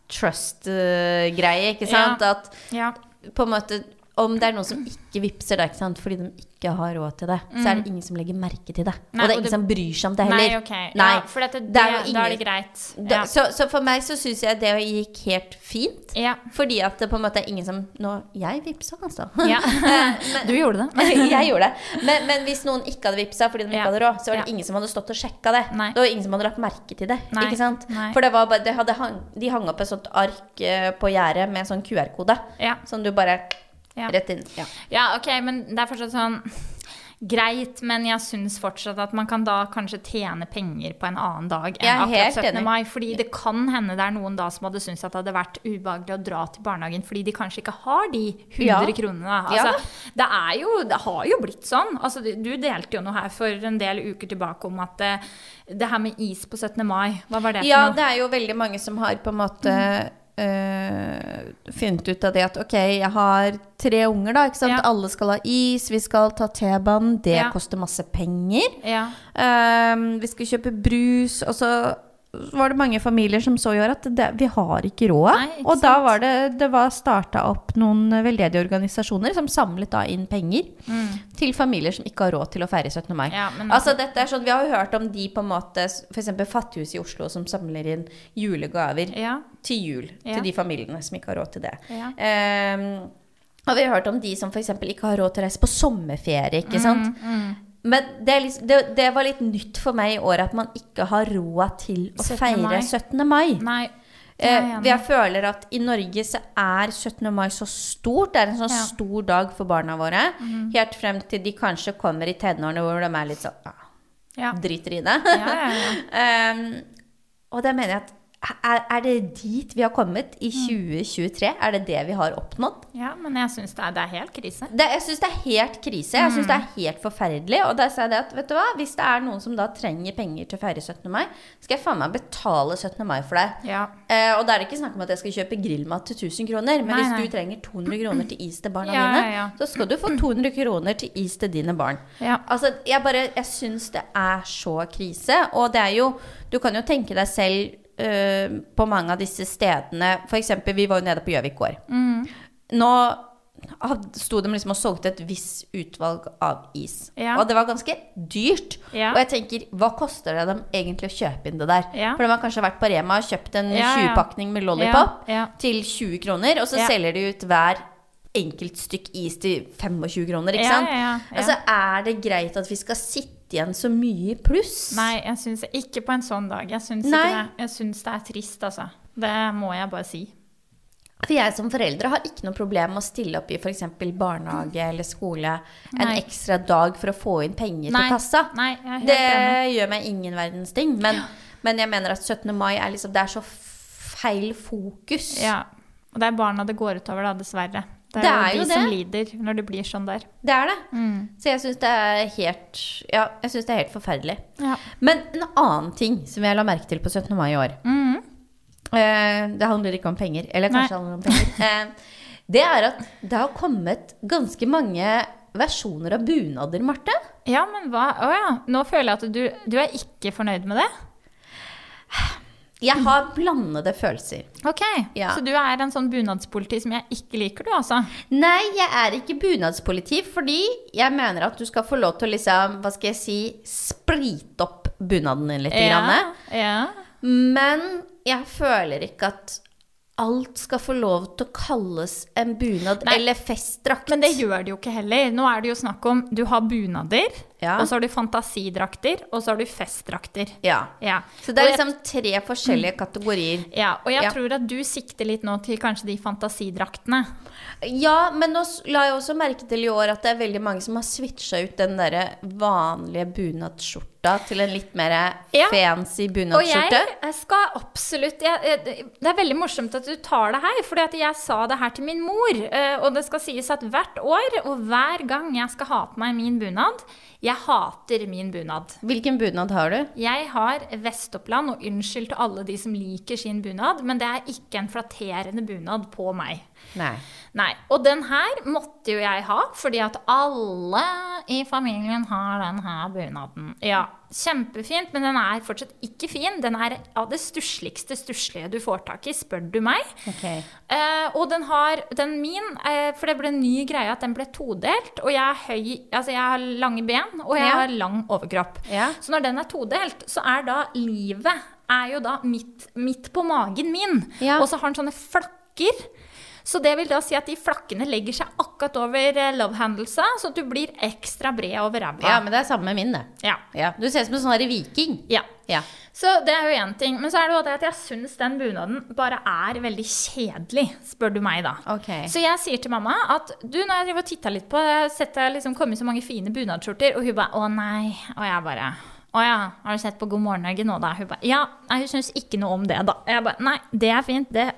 Trust-greie, ikke
Ja.
sant? At
Ja.
på en måte om det er noen som ikke vippser da, ikke sant? fordi de ikke har råd til det, så er det ingen som legger merke til det.
Mm. Nei, og
og det er
det-
ingen som bryr seg om det heller.
Nei, ok.
Nei.
Ja, for dette, det,
Det er jo
da
ingen-
er det greit.
Da,
Ja.
så, så for meg så syns jeg det gikk helt fint.
Ja.
Fordi at det på en måte er ingen som Nå, jeg vippsa,
*laughs*
altså. *laughs*
ja.
Men-
Du gjorde det.
*laughs* jeg gjorde det. Men, men hvis noen ikke hadde vippsa fordi de ikke
Ja.
hadde råd, så var det
Ja.
ingen som hadde stått og sjekka det.
Nei.
Det var ingen som hadde lagt merke til det.
Nei.
Ikke sant?
Nei.
For det var bare, det hadde hang, de hang opp et sånt ark eh, på gjerdet med en sånn QR-kode.
Ja.
Som du bare
Ja.
rett inn. Ja.
ja, ok, men det er fortsatt sånn *laughs* Greit, men jeg syns fortsatt at man kan da kanskje tjene penger på en annen dag enn
Jeg er
akkurat
helt
17.
enig.
mai. Fordi det kan hende det er noen da som hadde syntes at det hadde vært ubehagelig å dra til barnehagen fordi de kanskje ikke har de 100
Ja.
kronene. da.
Ja.
Altså, det, er jo, det har jo blitt sånn. Altså, du du delte jo noe her for en del uker tilbake om at eh, det her med is på 17. mai, hva var det for
Ja,
noe?
det er jo veldig mange som har på en måte eh, funnet ut av det at ok, jeg har tre unger, da. ikke sant?
Ja.
Alle skal ha is, vi skal ta T-banen, det
Ja.
koster masse penger.
Ja.
Ehm, vi skal kjøpe brus, og så var det mange familier som så i år at det, vi har ikke råd.
Nei, ikke
og da
sant?
var det, det var starta opp noen veldedige organisasjoner som samlet da inn penger
Mm.
til familier som ikke har råd til å feire 17. mai.
Ja, men-
altså, dette er sånn, vi har jo hørt om de på en måte, f.eks. Fattighuset i Oslo som samler inn julegaver
Ja.
til jul
Ja.
til de familiene som ikke har råd til det.
Ja.
Ehm, og vi har hørt om de som f.eks. ikke har råd til å reise på sommerferie.
Mhm.
ikke sant?
Mm,
Men det, er liksom, det, det var litt nytt for meg i år at man ikke har råd til å
17. mai.
feire 17. mai.
Nei. det er
Eh,
jeg enig i.
jeg føler at i Norge så er 17. mai så stort. Det er en sånn
Ja. Mhm.
stor dag for barna våre. Helt frem til de kanskje kommer i tenårene hvor de er litt sånn ah,
Ja.
driter i det.
Ja, ja, ja.
*laughs* Ehm, og da mener jeg at er, er det dit vi har kommet
Mm.
i 2023? Er det det vi har oppnådd?
Ja, men jeg syns det, er- det er helt krise.
Det, jeg syns det er helt krise. Jeg
Mm.
synes det er helt forferdelig. Og da sa jeg det at vet du hva, hvis det er noen som da trenger penger til å feire 17. mai, skal jeg faen meg betale 17. mai for deg.
Ja.
Eh, og da er det ikke snakk om at jeg skal kjøpe grillmat til 1000 kroner, men
Nei,
hvis
nei.
du trenger 200 kroner til is til barna
Ja,
dine,
ja, ja.
så skal du få 200 kroner til is til dine barn.
Ja.
Altså, jeg bare, jeg syns det er så krise. Og det er jo Du kan jo tenke deg selv øh, på mange av disse stedene F.eks. vi var jo nede på Gjøvik gård.
Mm.
Nå had- sto de liksom og solgte et visst utvalg av is.
Ja.
Og det var ganske dyrt.
Ja.
Og jeg tenker, hva koster det dem egentlig å kjøpe inn det der?
Ja.
For de har kanskje vært på Rema og kjøpt en
Ja, ja.
20-pakning med lollipop
Ja, ja.
til 20 kroner, og så
Ja.
selger de ut hver enkelt stykk is til 25 kroner, ikke
Ja,
sant?
ja, ja, ja.
Altså, er det greit at vi skal sitte igjen så mye i pluss?
Nei, jeg syns ikke på en sånn dag. Jeg syns ikke
Nei.
det. Jeg syns det er trist, altså. Det må jeg bare si.
For jeg som foreldre har ikke noe problem med å stille opp i f.eks. barnehage eller skole en
Nei.
ekstra dag for å få inn penger
Nei.
til kassa.
Nei, jeg er helt
Det
enig.
gjør meg ingen verdens ting. Men, men jeg mener at 17. mai er liksom Det er så feil fokus.
Ja. Og det er barna det går utover, da, dessverre. Det Mm. er, jo de som lider når det blir sånn der.
Det er det. Så jeg syns det er helt Ja, jeg syns det er helt forferdelig.
Ja.
Men en annen ting som jeg la merke til på 17. mai i år
Mm.
eh, Det handler ikke om penger. Eller
Nei.
kanskje det handler om *laughs* penger. Eh, det er at det har kommet ganske mange versjoner av bunader, Marte.
ja, men hva Å ja. Nå føler jeg at du, du er ikke fornøyd med det.
Jeg har blandede følelser.
Ok.
Ja.
Så du er en sånn bunadspoliti som jeg ikke liker, du, altså.
Nei, jeg er ikke bunadspoliti, fordi jeg mener at du skal få lov til å liksom, hva skal jeg si, sprite opp bunaden din litt. Grann.
ja.
Men jeg føler ikke at alt skal få lov til å kalles en bunad
Nei.
eller festdrakt.
Men det gjør det jo ikke heller. Nå er det jo snakk om du har bunader,
Ja.
og så har du fantasidrakter, og så har du festdrakter.
Ja.
Ja.
Så det er
Og jeg-
liksom tre forskjellige kategorier.
ja, og jeg
Ja.
tror at du sikter litt nå til kanskje de fantasidraktene.
Ja, men nå s- la jeg også merke til i år at det er veldig mange som har switcha ut den derre vanlige bunadsskjorta til en litt mer
Ja.
fancy
Og jeg,
bunadsskjorte.
jeg skal absolutt jeg, jeg- Det er veldig morsomt at du tar det her, fordi at jeg sa det her til min mor. eh, Og det skal sies at hvert år og hver gang jeg skal ha på meg min bunad Jeg hater min bunad.
Hvilken bunad har du?
Jeg har Vestoppland, og unnskyld til alle de som liker sin bunad, men det er ikke en flatterende bunad på meg.
Nei.
Nei. Og den her måtte jo jeg ha, fordi at alle i familien har den her bunaden. Ja, kjempefint, men den er fortsatt ikke fin. Den er av det stussligste stusslige du får tak i, spør du meg.
Ok.
Eh, og den har den min, eh, for det ble en ny greie at den ble todelt. Og jeg er høy, altså jeg har lange ben, og jeg
Ja.
har lang overkropp.
Ja.
Så når den er todelt, så er da livet er jo da midt, midt på magen min.
Ja.
Og så har den sånne flakker. Så det vil da si at de flakkene legger seg akkurat over eh, love handlesa, så at du blir ekstra bred over
Ja,
ræva.
men det er samme med min, det.
Ja.
Ja. Du ser ut som en sånn her viking.
ja.
Ja.
Så det er jo én ting. Men så er det jo det at jeg syns den bunaden bare er veldig kjedelig, spør du meg da.
Ok.
Så jeg sier til mamma at du, når jeg driver og titter litt på det, har sett det liksom komme så mange fine bunadsskjorter, og hun bare å nei. Og jeg bare å ja, har du sett på God morgen Norge nå, da? Hun bare ja. Nei, hun syns ikke noe om det, da. Jeg bare nei, det er fint, det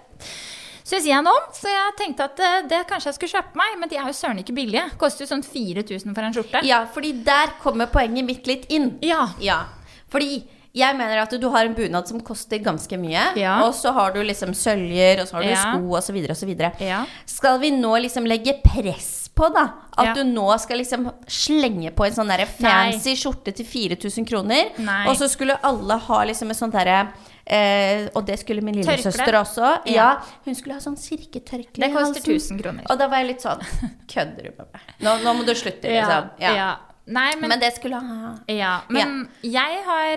syns jeg noe om. Så jeg tenkte at det, det kanskje jeg skulle kjøpe meg, men de er jo søren ikke billige. Koster jo sånn 4000 for en skjorte.
ja, fordi der kommer poenget mitt litt inn.
Ja.
Ja, fordi jeg mener at du har en bunad som koster ganske mye,
Ja.
og så har du liksom søljer, og så har du
Ja.
sko, og så videre, og så videre.
Ja.
Skal vi nå liksom legge press på, da? At
Ja.
du nå skal liksom slenge på en sånn derre fancy skjorte til 4000 kroner,
Nei.
og så skulle alle ha liksom en sånn derre Eh, og det skulle min lillesøster
Tørkle.
også.
Ja.
Ja, Hun skulle ha sånn silketørkle
Det
i
koster
halsen.
1000 kroner.
Og da var jeg litt sånn Kødder du med meg? Nå, nå må du
*laughs*
slutte,
ja.
liksom. Ja.
ja. Nei, men,
Men, det skulle ha
Ja, men jeg har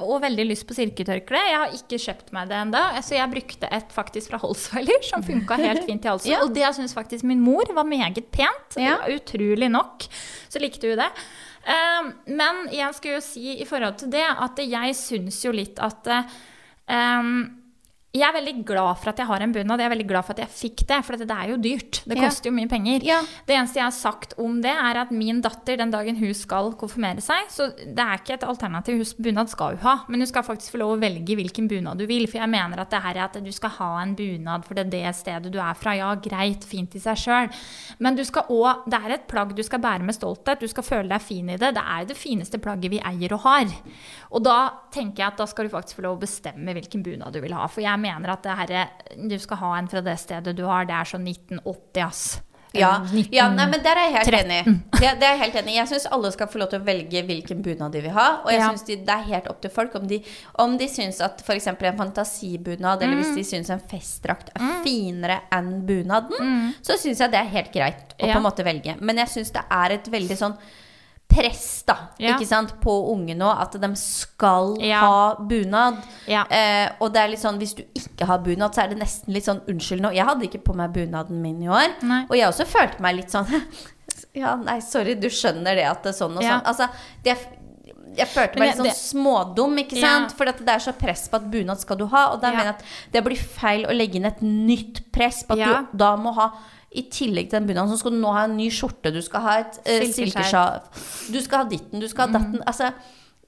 òg veldig lyst på silketørkle. Jeg har ikke kjøpt meg det ennå, så jeg brukte et faktisk fra Holsweiler som funka
*laughs*
helt fint i halsen.
Ja.
Og det syns faktisk min mor var meget pent.
Ja.
Utrolig nok så likte hun det. Eh, men jeg skulle jo si i forhold til det at jeg syns jo litt at eh, jeg er veldig glad for at jeg har en bunad, jeg er veldig glad for at jeg fikk det. For det er jo dyrt. Det
Ja.
koster jo mye penger.
Ja.
Det eneste jeg har sagt om det, er at min datter den dagen hun skal konfirmere seg, så det er ikke et alternativ. Hun- Bunad skal hun ha, men hun skal faktisk få lov å velge hvilken bunad du vil. For jeg mener at det her er at du skal ha en bunad for det, er det stedet du er fra. Ja, greit, fint i seg sjøl, men du skal òg Det er et plagg du skal bære med stolthet. Du skal føle deg fin i det. Det er jo det fineste plagget vi eier og har. Og da tenker jeg at da skal du faktisk få lov å bestemme hvilken bunad du vil ha. For jeg mener at det herre Du skal ha en fra det stedet du har. Det er sånn 1980, ass.
Ja, ja nei, men der er jeg helt
13.
enig. Det, det er Jeg helt enig i. Jeg syns alle skal få lov til å velge hvilken bunad de vil ha. Og jeg
Ja.
synes de, det er helt opp til folk om de, om de syns at f.eks. en fantasibunad, eller hvis de
Mm.
syns en festdrakt er finere enn bunaden, så syns jeg det er helt greit å på
Mm. Ja.
en måte velge. Men jeg syns det er et veldig sånn press da,
Ja.
ikke sant, på unge nå, at de skal
Ja.
ha bunad.
Ja.
Eh, og det er litt sånn, hvis du ikke har bunad, så er det nesten litt sånn unnskyld nå. Jeg hadde ikke på meg bunaden min i år.
Nei.
Og jeg også følte meg litt sånn *laughs* Ja, nei, sorry, du skjønner det at det er sånn og
Ja.
sånn. Altså, det, jeg følte
Men
meg litt
det-
sånn smådum, ikke
Ja.
sant? For at det er så press på at bunad skal du ha. Og da
Ja.
mener jeg at det blir feil å legge inn et nytt press på at
Ja.
du da må ha i tillegg til den bunaden, så skal du nå ha en ny skjorte, du skal ha et eh,
Silkeskjerf.
silkeskjerf, du skal ha ditten, du skal ha
Mm.
datten. Altså,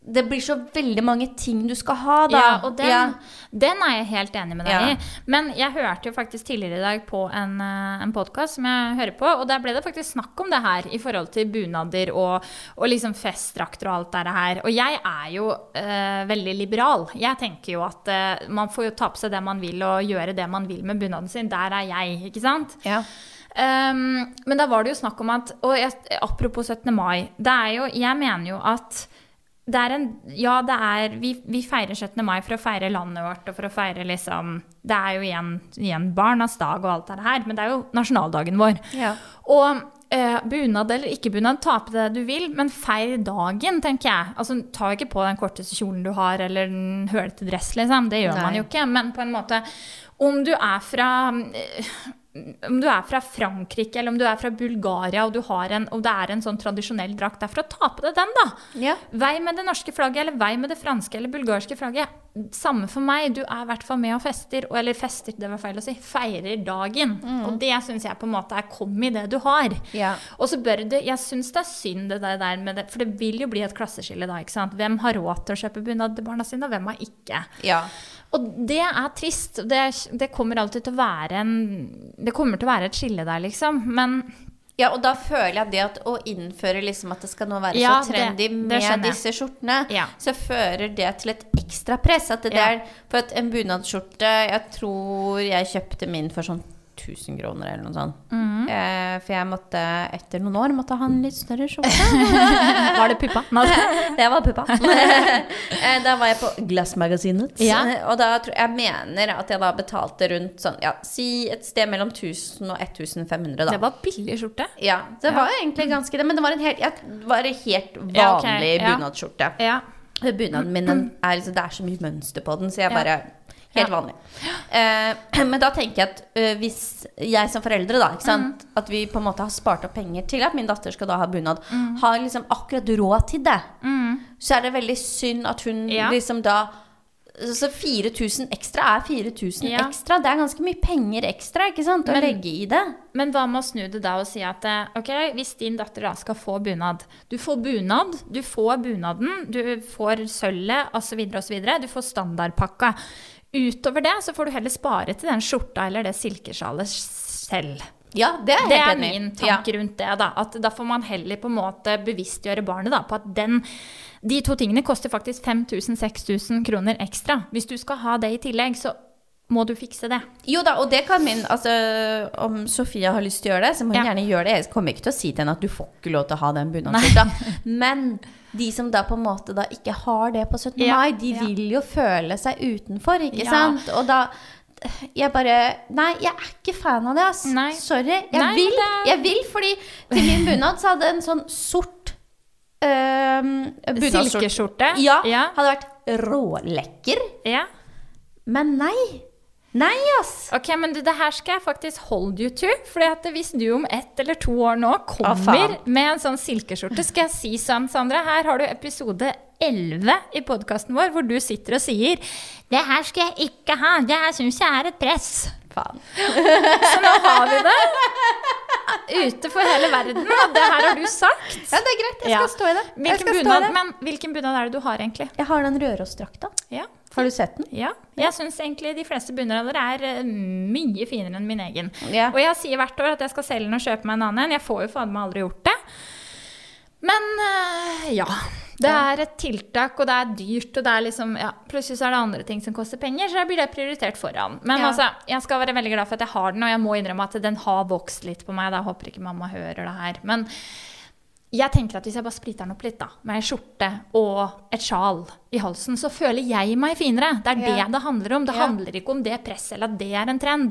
det blir så veldig mange ting du skal ha, da.
Ja, og den,
Ja.
den er jeg helt enig med deg
Ja.
i. Men jeg hørte jo faktisk tidligere i dag på en, eh, en podkast som jeg hører på, og der ble det faktisk snakk om det her i forhold til bunader og, og liksom festdrakter og alt det her. Og jeg er jo eh, veldig liberal. Jeg tenker jo at eh, man får jo ta på seg det man vil og gjøre det man vil med bunaden sin. Der er jeg, ikke sant?
Ja.
Ehm, men da var det jo snakk om at Og jeg, apropos 17. mai. Det er jo, jeg mener jo at det er en Ja, det er vi, vi feirer 17. mai for å feire landet vårt og for å feire liksom Det er jo igjen, igjen barnas dag og alt det her, men det er jo nasjonaldagen vår.
Ja.
Og eh, bunad eller ikke bunad, ta på det du vil, men feir dagen, tenker jeg. Altså, ta ikke på den korteste kjolen du har, eller den hølete dress, liksom. Det gjør
Nei.
man jo ikke. Men på en måte, om du er fra eh, om du er fra Frankrike eller om du er fra Bulgaria og, du har en, og det er en sånn tradisjonell drakt derfra, ta på deg den, da.
Ja.
Vei med det norske flagget eller vei med det franske eller bulgarske flagget. Samme for meg, du er i hvert fall med og fester, og, eller fester, det var feil å si, feirer dagen. Og det syns jeg på en måte er kom i det du har.
Ja.
Og så bør det, jeg syns det er synd det der- der med det, for det vil jo bli et klasseskille da, ikke sant. Hvem har råd til å kjøpe bunad til barna sine, og hvem har ikke.
ja.
Og det er trist. og Det, er- det kommer alltid til å være en Det kommer til å være et skille der, liksom. Men
Ja, og da føler jeg det at å innføre liksom at det skal nå være
Ja,
så
det-
trendy
det
med
skjønner jeg.
disse skjortene,
*laughs* Ja.
så fører det til et ekstra press. At det
Ja.
der, for at en bunadsskjorte Jeg tror jeg kjøpte min for sånn 1000 kroner eller noe sånt.
Mhm.
Eh, for jeg måtte etter noen år måtte ha en litt større skjorte.
Var *laughs* det puppa?
det var puppa. *laughs* Eh, da var jeg på Glassmagasinet.
Ja.
Eh, Og da tror jeg mener at jeg da betalte rundt sånn, ja, si et sted mellom 1000 og 1500, da.
Det var billig skjorte.
Ja, det var egentlig ganske det. Men det var en helt, ja, det var en helt vanlig
Ja, ok, ja.
bunadsskjorte.
Ja.
Bunaden min den er liksom, det er så mye mønster på den, så jeg
Ja.
bare Helt
Ja.
vanlig. Eh, men da tenker jeg at eh, hvis jeg som foreldre, da, ikke sant, at vi på en måte har spart opp penger til at min datter skal da ha bunad, har liksom akkurat råd til det,
Mm.
så er det veldig synd at hun
Ja.
liksom da så 4000 ekstra er 4000
Ja.
ekstra. Det er ganske mye penger ekstra ikke sant, å
Men-
legge i det.
Men hva med å snu det da og si at eh, ok, hvis din datter da skal få bunad Du får bunad, du får bunaden, du får sølvet osv. osv. Du får standardpakka. Utover det så får du heller spare til den skjorta eller det silkesjalet selv.
Ja, det er jeg
Det
helt
er
enig i.
min
Ja.
tanke rundt det. Da At da får man heller på en måte bevisstgjøre barnet da, på at den, de to tingene koster faktisk 5000-6000 kroner ekstra. Hvis du skal ha det i tillegg, så må du fikse det.
Jo da, og det kan min altså, Om Sofia har lyst til å gjøre det, så må hun
Ja.
gjerne gjøre det. Jeg kommer ikke til å si til henne at du får ikke lov til å ha
*laughs*
den bunadsskjorta. Men de som da på en måte da ikke har det på 17.
Ja,
mai, de
ja.
vil jo føle seg utenfor, ikke
Ja.
sant? Og da jeg bare Nei, jeg er ikke fan av det, ass.
Nei.
Sorry. Jeg
Nei, men
vil,
det-
jeg vil, fordi til min bunad så hadde jeg en sånn sort øh, bunadsskjorte
Silkeskjorte.
Ja,
ja.
hadde vært rålekker.
ja.
Men nei. Nei, ass.
Ok, men du, det her skal jeg faktisk hold you to. Fordi at hvis du om ett eller to år nå
Å,
kommer
faen.
med en sånn silkeskjorte, skal jeg si sånn, Sandra, her har du episode 11 i podkasten vår hvor du sitter og sier Det her skal jeg ikke ha, det her syns jeg er et press.
Faen.
Så nå har vi det ute for hele verden, og det her har du sagt.
Ja, det er greit. Jeg skal
Ja.
stå i det. Jeg,
Hvilken
skal stå i
bunad,
det.
men hvilken bunad er det du har, egentlig?
jeg har den Rørosdrakta.
Ja.
Har du sett den?
Ja, jeg syns egentlig de fleste bunader er eh, mye finere enn min egen.
Ja.
Og jeg sier hvert år at jeg skal selge den og kjøpe meg en annen en. Jeg får jo faen meg aldri gjort det. Men eh, ja. Det er et tiltak, og det er dyrt, og det er liksom ja, Plutselig så er det andre ting som koster penger, så da blir det prioritert foran. Men
Ja.
altså, jeg skal være veldig glad for at jeg har den, og jeg må innrømme at den har vokst litt på meg. Da Jeg håper ikke mamma hører det her. Men jeg tenker at hvis jeg bare splitter den opp litt, da, med ei skjorte og et sjal i halsen, så føler jeg meg finere. Det er
Ja.
det det handler om. Det
Ja.
handler ikke om det presset eller at det er en trend.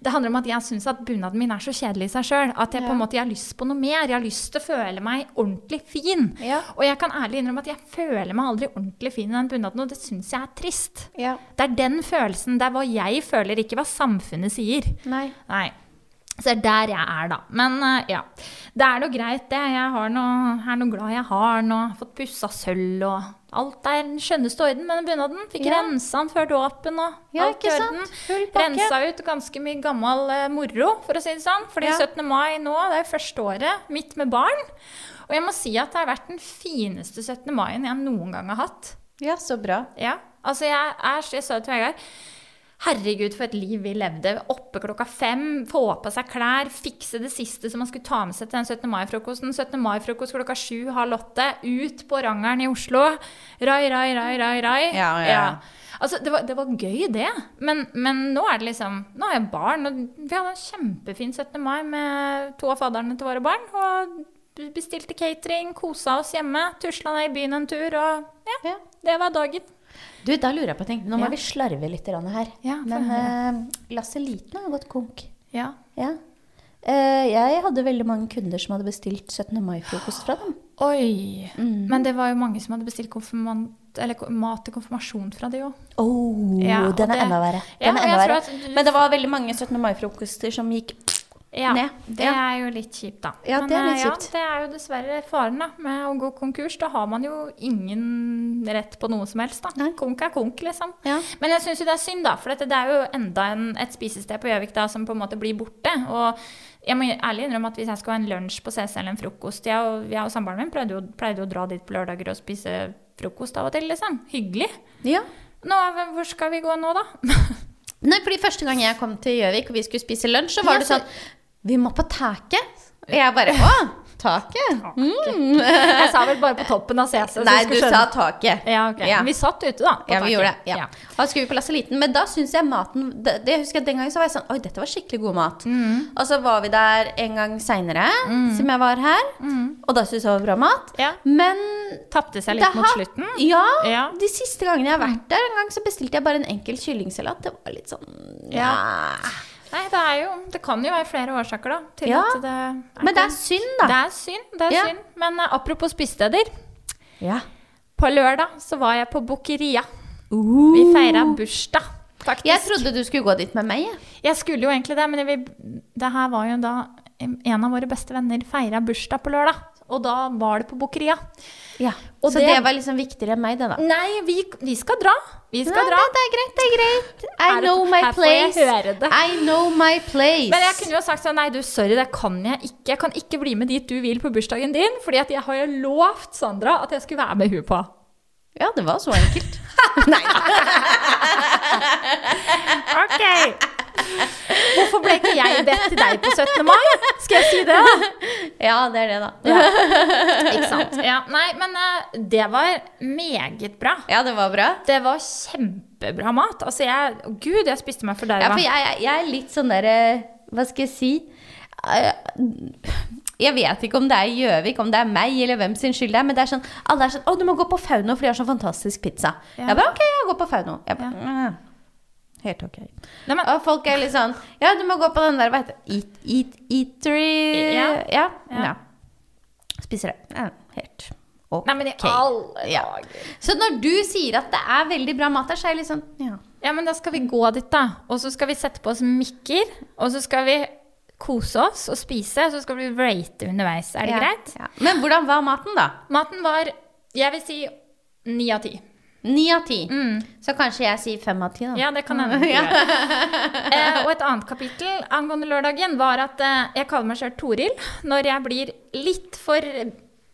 Det handler om at jeg syns at bunaden min er så kjedelig i seg sjøl. At jeg på en måte jeg har lyst på noe mer. Jeg har lyst til å føle meg ordentlig fin.
Ja.
Og jeg kan ærlig innrømme at jeg føler meg aldri ordentlig fin i den bunaden, og det syns jeg er trist.
Ja.
Det er den følelsen. Det er hva jeg føler, ikke hva samfunnet sier.
Nei.
Nei. Så det er der jeg er, da. Men eh, ja. Det er noe greit, det. Jeg har noe, er noe glad jeg har nå. Fått pussa sølv og Alt er den skjønneste orden med den bunaden. Fikk
Ja.
rensa den før dåpen og
Ja,
alt i
ikke
orden.
sant? Full pakke.
Rensa ut ganske mye gammel eh, moro, for å si det sånn. Fordi
Ja.
17. mai nå, det er første året mitt med barn. Og jeg må si at det har vært den fineste 17. mai-en jeg noen gang har hatt.
Ja, så bra.
Ja. Altså, jeg er så Jeg sa det til Vegard. Herregud, for et liv vi levde. Oppe klokka fem, få på seg klær, fikse det siste som man skulle ta med seg til den 17. mai-frokosten. 17. mai-frokost klokka sju, halv åtte. Ut på rangeren i Oslo. Rai, rai, rai, rai, rai.
Ja, ja, ja.
Altså, det var, det var gøy, det. Men, men nå er det liksom Nå har jeg barn, og vi hadde en kjempefin 17. mai med to av fadderne til våre barn. Og bestilte catering, kosa oss hjemme, tusla ned i byen en tur, og ja.
Ja.
Det var dagen.
Du, da lurer jeg på en ting. Nå må
Ja.
vi slarve litt grann her.
Ja, få
Men eh, Lasse Liten har gått konk.
Ja.
Ja. Eh, jeg hadde veldig mange kunder som hadde bestilt 17. mai-frokost fra dem. Mm.
Oi. Men det var jo mange som hadde bestilt konfirmant, eller ko- mat til konfirmasjon fra de òg.
Oh,
Ja, og
den er
det-
enda verre.
Ja,
Den
og
er enda
jeg tror
verre.
at du-
Men det var veldig mange 17. mai-frokoster som gikk
Ja,
Ned.
det
Ja.
er jo litt kjipt, da.
Ja, det er
eh,
litt
Ja,
kjipt.
det er jo dessverre faren da, med å gå konkurs. Da har man jo ingen rett på noe som helst. da.
Nei.
Konk er konk, liksom.
Ja.
Men jeg syns jo det er synd, da. For dette, det er jo enda en, et spisested på Gjøvik da, som på en måte blir borte. Og jeg må ærlig innrømme at hvis jeg skal ha en lunsj på CC eller en frokost Jeg og, jeg og samboeren min pleide jo, pleide jo å dra dit på lørdager og spise frokost av og til, liksom. Hyggelig.
Ja.
Nå, hvor skal vi gå
*laughs*
nå, da?
Nei, fordi første gang jeg kom til Gjøvik og vi skulle spise lunsj, så var
Ja,
det
så-
sånn Vi må på taket. Og jeg bare Å! Taket?
Jeg sa vel bare på toppen av CC. så
Mm. Nei,
skal
du
skjønne.
sa taket.
ja, ok.
Ja.
Men Vi satt ute, da. på
Ja, vi
taket.
gjorde det. Ja. Da skulle vi på Lasse Liten, men da syns jeg maten det, det husker jeg Den gangen så var jeg sånn Oi, dette var skikkelig god mat.
Mm.
Og så var vi der en gang seinere, som jeg var her,
Mm.
og da syntes jeg det var bra mat.
Ja.
Men
Tapte seg
det
litt mot
har-
slutten.
Ja,
Mm. Ja.
De siste gangene jeg har vært der, en gang så bestilte jeg bare en enkel kyllingsalat. Det var litt sånn ja.
Ja. Nei, det er jo Det kan jo være flere årsaker, da. Til
Ja.
at det er
Men det er
sånn.
synd, da.
Det er synd. Det er
Ja.
synd. Men eh, apropos spisesteder.
Ja.
På lørdag så var jeg på Bukkeria. Vi feira
Uh.
bursdag, faktisk.
Jeg trodde du skulle gå dit med meg. jeg.
Jeg skulle jo egentlig det, men jeg vil, det her var jo da en av våre beste venner feira bursdag på lørdag. Og da var det på Bukkeria. Og
Så
det-
det, var liksom viktigere enn meg, det, da.
Nei, vi, vi skal dra. Vi skal
Nei,
dra.
Det, det er greit, det er greit. I
Er det-
know my
her får jeg
place.
høre det.
I know my place.
Men jeg kunne jo sagt sånn Nei, du, sorry, det kan jeg ikke. Jeg kan ikke bli med dit du vil på bursdagen din, fordi at jeg har jo lovt Sandra at jeg skulle være med hun på.
Ja, det var så enkelt.
Ok! Hvorfor ble ikke jeg bedt til deg på 17. mai? Skal jeg si det?
*laughs* ja, det er det, da.
Ikke sant? Ja, nei, men eh, det var meget bra.
Ja, det var bra.
Det var kjempebra mat. Altså, jeg Gud, jeg spiste meg
Ja,
forderva.
for jeg, jeg- jeg er litt sånn derre Hva skal jeg si? Eh, Jeg vet ikke om det er Gjøvik, om det er meg, eller hvem sin skyld det er, men det er sånn, alle er sånn 'Å, du må gå på Fauno, for de har sånn fantastisk pizza'.
Ja.
Jeg bare 'Ok, jeg går på Fauno'. Jeg bare, «Mm, Helt ok.
Nei, men,
Og folk er litt sånn 'Ja, du må gå på den der, hva heter det Eat, eat, Eatery'.
Ja.
Ja.
Ja.
ja. Spiser det. Ja, helt ok.
nei, men i alle
Ja.
dager
Så når du sier at det er veldig bra mat der, så er jeg litt sånn ja.
Ja, men da skal vi gå dit, da. Og så skal vi sette på oss mikker. Og så skal vi kose oss og spise, og så skal vi rate underveis. Er det
ja,
greit?
Ja. Men hvordan var maten, da?
Maten var, jeg vil si, ni av ti.
Ni av ti. Så kanskje jeg sier fem av ti, da.
Mm. Ja, det kan
*laughs*
hende. Ja. Eh, og et annet kapittel angående lørdagen var at eh, jeg kaller meg sjøl Toril når jeg blir litt for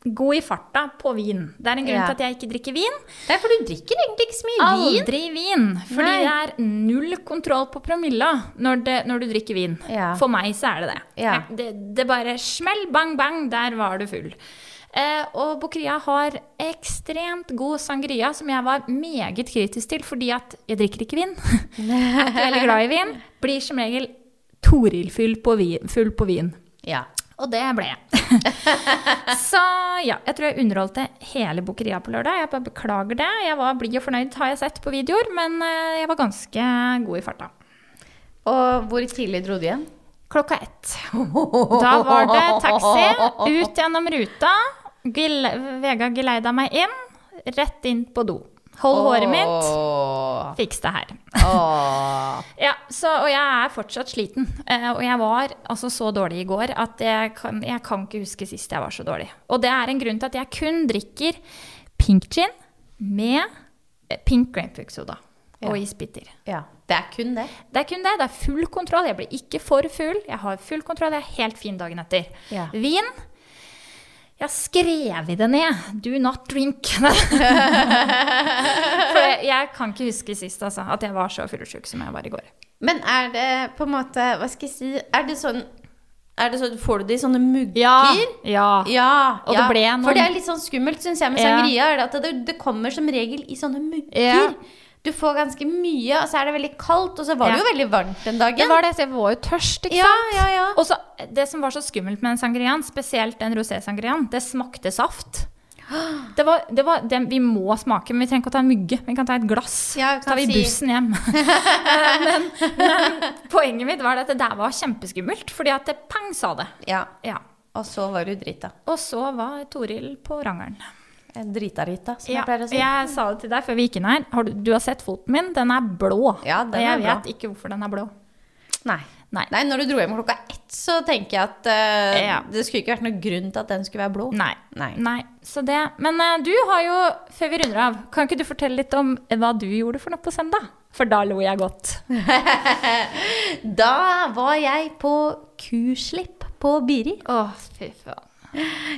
god i farta på vin. Det er en grunn
Ja.
til at jeg ikke drikker vin.
Det er for du drikker egentlig ikke så mye vin.
Aldri vin! Fordi
Nei.
det er null kontroll på promilla når, det, når du drikker vin.
Ja.
For meg så er det det.
Ja.
Jeg- Det, det bare smell, bang, bang, der var du full. Eh, og Bukkeria har ekstremt god sangria, som jeg var meget kritisk til, fordi at jeg drikker ikke vin. *laughs* er ikke veldig glad i vin. Blir som regel Toril-full på, vi- full på vin.
Ja.
Og det ble jeg. *laughs* så ja, jeg tror jeg underholdte hele Bukkeria på lørdag. Jeg bare beklager det. Jeg var blid og fornøyd, har jeg sett på videoer, men eh, jeg var ganske god i farta.
Og hvor tidlig dro du igjen?
Klokka ett. Da var det taxi ut gjennom ruta. Gil Vega geleida meg inn, rett inn på do. Hold håret mitt,
Åh.
fiks det her.
Åh.
Ja, så, og jeg er fortsatt sliten. Eh, og jeg var altså så dårlig i går at jeg kan, jeg kan ikke huske sist jeg var så dårlig. Og det er en grunn til at jeg kun drikker pink gin med eh, pink grapefruit soda og isbiter.
Ja. Det er kun det.
Det er kun det. Det er full kontroll. Jeg blir ikke for full. Jeg har full kontroll. Jeg er helt fin dagen etter.
Ja.
Vin Jeg har skrevet det ned. Do not drink. *laughs* for jeg, jeg kan ikke huske sist altså, at jeg var så fyllesyk som jeg var i går.
Men er det på en måte Hva skal jeg si Er det sånn, er det sånn Får du det i sånne mugger?
Ja.
Ja,
Og det
ja.
ble noen-
for det er litt sånn skummelt, syns jeg, med
Ja.
sangria. Er det at det, det kommer som regel i sånne mugger.
Ja.
Du får ganske mye, og så er det veldig kaldt, og så var det
Ja.
jo veldig varmt den dagen.
Det var det, så jeg var jo tørst, ikke
Ja,
sant?
ja, ja.
Og så, det som var så skummelt med den sangriaen, spesielt den rosé-sangriaen, det smakte saft. Det var, det var det vi må smake, men vi trenger ikke å ta en mugge. Vi kan ta et glass.
Ja, vi
så tar
kan
vi
si-
bussen
*laughs*
hjem. Eh, men, men poenget mitt var at det der var kjempeskummelt, fordi at det pang sa det.
Ja,
Ja.
Og så var du drita. Eh,
Og så var Toril på rangeren.
Drita-Rita, som
Ja,
jeg pleier å si.
jeg sa det til deg før vi gikk inn her. Har du, du har sett foten min? Den er blå.
Ja, den
Og jeg
er blå.
vet ikke hvorfor den er blå.
Nei.
Nei.
Nei, når du dro hjem klokka ett, så tenker jeg at eh,
Ja.
det skulle ikke vært noen grunn til at den skulle være blå.
Nei.
Nei.
Så det. Men eh, du har jo, før vi runder av, kan ikke du fortelle litt om hva du gjorde for noe på søndag? For da lo jeg godt.
Da var jeg på kuslipp på Biri.
Å, fy faen.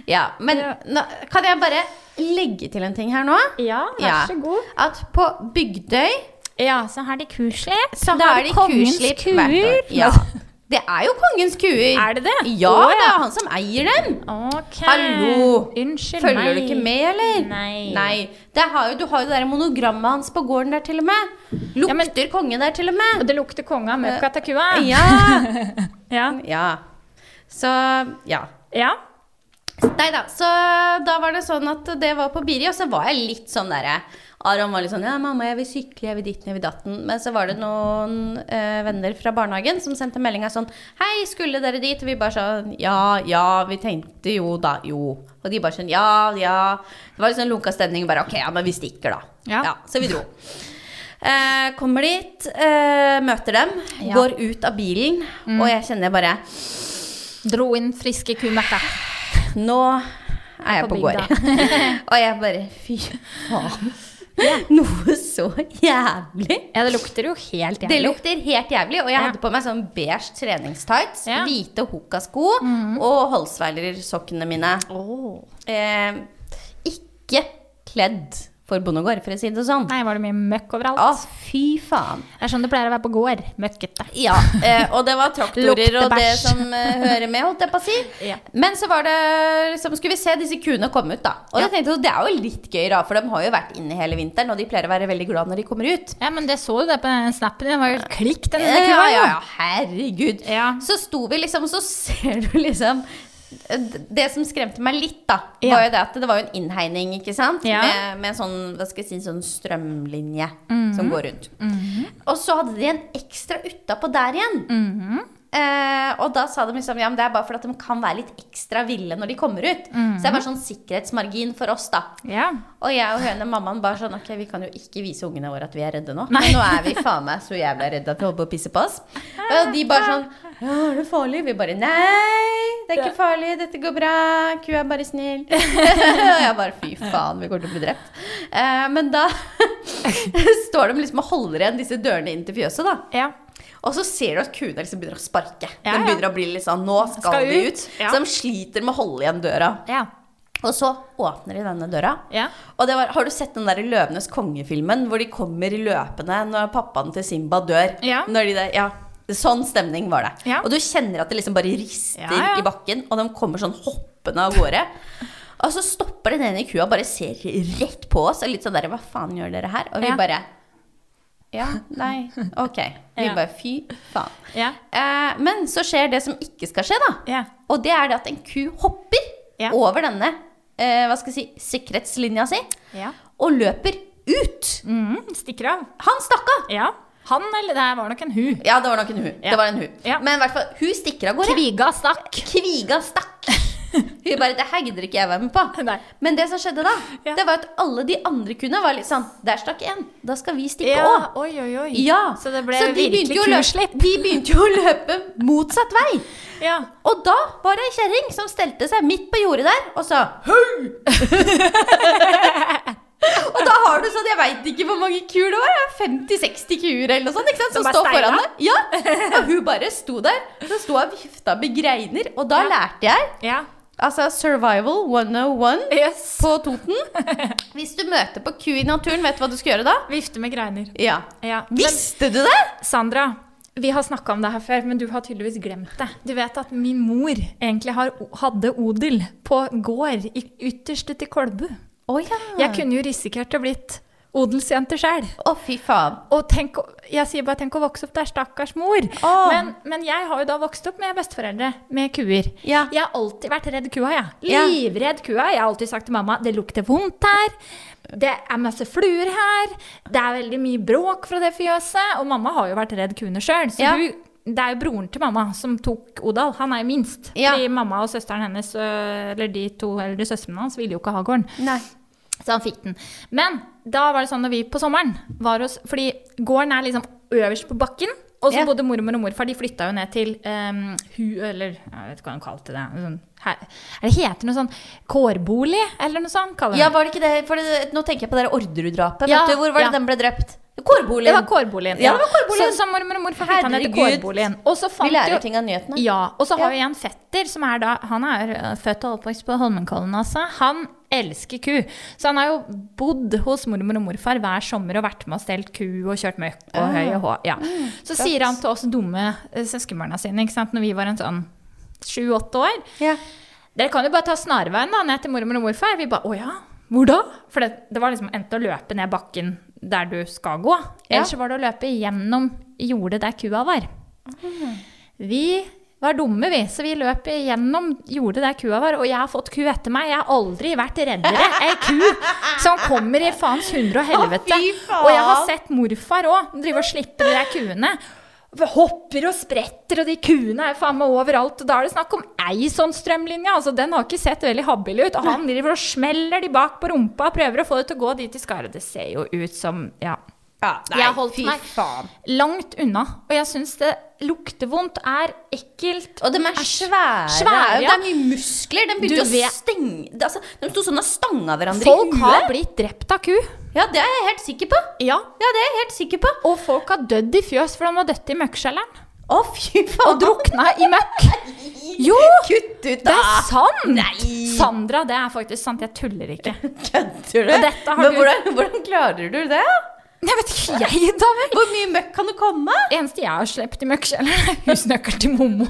Ja, men
Ja.
Nå, kan jeg bare legge til en ting her nå?
Ja, vær
Ja.
så god.
At på Bygdøy
Ja, så har de kuslipp.
så
Da er
har
det
de
kongens
kuslipp
kuer.
hvert år. Ja. Det er jo kongens kuer.
Er det det?
Ja,
Å,
det
ja.
er han som eier dem.
Ok.
Hallo.
Unnskyld meg.
Følger du ikke med, eller?
Nei.
Det har jo, du har jo det der monogrammet hans på gården der, til og med. Lukter
men-
konge der, til og med.
Og det lukter konge av møkka til kua.
Ja.
*laughs* Ja.
ja. Så ja.
ja.
Nei da. Så da var det sånn at det var på Biri, og så var jeg litt sånn derre Aron var litt sånn Ja, mamma, jeg vil sykle, jeg vil ditten, jeg vil datten. Men så var det noen eh, venner fra barnehagen som sendte meldinga sånn Hei, skulle dere dit? Og vi bare sånn Ja, ja. Vi tenkte jo da, jo. Og de bare sånn Ja, ja. Det var litt sånn lunka stemning. Bare OK, ja, men vi stikker, da.
Ja.
så vi dro. Eh, kommer dit, eh, møter dem,
Ja.
går ut av bilen, og jeg kjenner bare
Dro inn friske kumøkka.
nå er jeg
På
på,
bygda.
gård. *laughs* og jeg bare Fy faen. Noe så jævlig.
Ja, det lukter jo helt
Det
jævlig.
lukter helt jævlig. Og jeg
Ja.
hadde på meg sånn beige treningstights,
Ja.
hvite hokasko og Holsweiler-sokkene mine.
Åh.
Eh, ikke kledd for bondegård, for å si det sånn.
Nei, var det mye møkk overalt?
Å, fy faen.
Det er sånn det pleier å være på gård. Møkkete.
Ja, eh, og det var traktorer
Lukter
og det
bæsj.
som eh, hører med, holdt jeg på å si.
*laughs* Ja.
Men så var det liksom, skulle vi se disse kuene komme ut, da. Og jeg tenkte at det er jo litt gøy, da, for de har jo vært inne hele vinteren, og de pleier å være veldig glad når de kommer ut.
Ja, men det så du det på den snappen din. Den var jo helt klikk, den
Ja,
ene kua.
ja,
jo.
ja, herregud.
Ja.
Så sto vi liksom, så ser du liksom Det som skremte meg litt, da,
Ja.
var jo det at det var jo en innhegning, ikke sant?
Ja.
Med, med sånn, hva skal jeg si, sånn strømlinje som
Mhm.
går rundt. Og så hadde de en ekstra utapå der igjen.
Mhm.
Eh, og da sa de liksom Ja, men det er bare fordi at de kan være litt ekstra ville når de kommer ut.
Mhm.
Så det er bare sånn sikkerhetsmargin for oss, da.
Ja.
Og jeg og høne mammaen bare sånn Ok, vi kan jo ikke vise ungene våre at vi er redde nå.
Nei.
Men nå er vi faen meg så jævla redde at vi holder på å pisse på oss. Og de bare sånn Ja, er det farlig? Vi bare Nei, det er ikke farlig. Dette går bra. Kua er
*laughs*
bare snill. og jeg bare Fy faen, vi kommer til å bli drept. Eh, men da *laughs* står de liksom og holder igjen disse dørene inn til fjøset, da.
ja.
Og så ser du at kuene liksom begynner å sparke.
Ja,
De
ja.
begynner å bli litt sånn Nå skal,
Skal
de
ut.
ut.
Ja.
Så de sliter med å holde igjen døra.
Ja.
Og så åpner de denne døra.
Ja.
Og det var, har du sett den der Løvenes konge-filmen hvor de kommer løpende når pappaen til Simba dør?
Ja.
Når de der, ja. Sånn stemning var det.
Ja.
Og du kjenner at det liksom bare rister
Ja, ja.
i bakken, og de kommer sånn hoppende av gårde. og så stopper den ene kua og bare ser rett på oss og litt sånn der Hva faen gjør dere her? Og vi
Ja.
bare Ja, nei, ok. Vi
Ja.
bare fy faen.
Ja.
Eh, men så skjer det som ikke skal skje, da.
Ja.
Og det er det at en ku hopper
Ja.
over denne eh, hva skal jeg si, sikkerhetslinja si
Ja.
og løper ut.
Mhm, stikker av.
Han stakk av!
Ja. Han eller det var nok en hu.
Ja, det var nok en hu.
Ja.
Det var en hu.
Ja.
Men i hvert fall, hun stikker av gårde.
Kviga stakk.
Kviga stakk. Hun bare Det her gidder ikke jeg være med
*laughs*
på.
Nei.
Men det som skjedde da,
Ja.
det var at alle de andre kuene var litt sånn Der stakk én. Da skal vi stikke òg.
Ja, oi, oi, oi.
Ja.
Så det ble
Så de begynte
virkelig
jo å løpe-
kuslipp.
De begynte jo å løpe motsatt vei.
Ja.
Og da var det ei kjerring som stelte seg midt på jordet der og sa Hei! *laughs* og da har du sånn, jeg veit ikke hvor mange kuer det var, ja, 50-60 kuer eller noe sånt, ikke sant, som
Som er
står
steina?
foran deg. Ja, Og hun bare sto der. Så sto hun og vifta med greiner, og da
Ja.
lærte jeg
Ja.
altså survival 101
Yes.
på Toten. Hvis du møter på ku i naturen, vet du hva du skal gjøre da?
Vifte med greiner.
Ja.
Ja. Men
Visste du det?
Sandra, vi har snakka om det her før, men du har tydeligvis glemt det. Du vet at min mor egentlig har, hadde odel på gård i, ytterst ute i Kolbu.
Å ja.
Jeg kunne jo risikert å blitt odelsjente sjøl.
Å, fy faen.
Og tenk, å- jeg sier bare tenk å vokse opp der, stakkars mor.
Åh.
Men, men jeg har jo da vokst opp med besteforeldre med kuer.
Ja.
Jeg har alltid vært redd kua, jeg.
Ja.
Livredd kua. Jeg har alltid sagt til mamma det lukter vondt her. Det er masse fluer her. Det er veldig mye bråk fra det fjøset. Og mamma har jo vært redd kuene sjøl. Så
Ja.
hun, det er jo broren til mamma som tok Odal. Han er jo minst.
Ja.
Fordi mamma og søsteren hennes, øh, eller de to eldre søstrene hans, ville jo ikke ha gården.
Nei.
Så han fikk den. Men da var det sånn når vi på sommeren var hos Fordi gården er liksom øverst på bakken. Og så
Ja.
bodde mormor og morfar. De flytta jo ned til ehm, hu... Eller jeg vet ikke hva de kalte det. Sånn, her, er det heter noe sånn kårbolig, eller noe sånt? kaller de
Ja,
det.
var det ikke det? For det, nå tenker jeg på det der Orderud-drapet.
Ja,
vet du, Hvor var det
ja.
den ble drept? Kårboligen.
Det var kårboligen.
Ja, det var kårboligen.
Så, så mormor og morfar fikk han hette
Herregud.
kårboligen. Og så
Vi
fant
lærer
jo
ting av nyhetene.
Ja, og så
Ja.
har vi en fetter som er da Han er ø, født og oppvokst på Holmenkollen, altså. Han elsker ku. Så han har jo bodd hos mormor og morfar hver sommer og vært med og stelt ku og kjørt møkk og
Ah.
høy og hå. Ja.
Mm,
Så sier han til oss dumme ø, søskenbarna sine, ikke sant, når vi var en sånn sju-åtte år
Ja.
Dere kan jo bare ta snarveien da, ned til mormor og morfar. Vi bare å ja, hvor da? For det, det var liksom enten å løpe ned bakken der du skal gå,
Ja.
eller så var det å løpe gjennom jordet der kua var. Vi var dumme, vi, så vi løp gjennom jordet der kua var. Og jeg har fått ku etter meg. Jeg har aldri vært reddere ei ku som kommer i faens hundre og helvete.
Å, fy faen.
Og jeg har sett morfar òg drive og slippe de der kuene. Hopper og spretter, og de kuene er faen meg overalt. Og da er det snakk om ei sånn strømlinje. Altså, den har ikke sett veldig habil ut. Og han driver og smeller de bak på rumpa og prøver å få det til å gå dit de skal. Og Det ser jo ut som Ja.
ja
Jeg har holdt meg langt unna. Og jeg syns det lukter vondt, er ekkelt.
Og de er svære.
svære,
det, er jo,
ja.
det er mye muskler. De
Du
begynte jo å
vet-
stenge det- altså, De sto sånn og stanga hverandre
Folk
i huet.
har blitt drept av ku.
Ja, det er jeg helt sikker på.
Ja.
Ja, det er jeg helt sikker på.
Og folk har dødd i fjøs, for de har dødd i
*laughs*
møkkskjelleren.
Å, fy faen.
Og drukna i møkk. Jo!
Kutt ut,
Det
da!
er sant!
Nei.
Sandra, det er faktisk sant. Jeg tuller
*laughs*
ikke.
Kødder du?
Og dette har
Men
du-
hvordan, hvordan klarer du det?
Jeg vet ikke, jeg, da vel.
Hvor mye møkk kan det komme?
Det eneste jeg har sluppet i møkkjelleren, er husnøkkelen til mommo.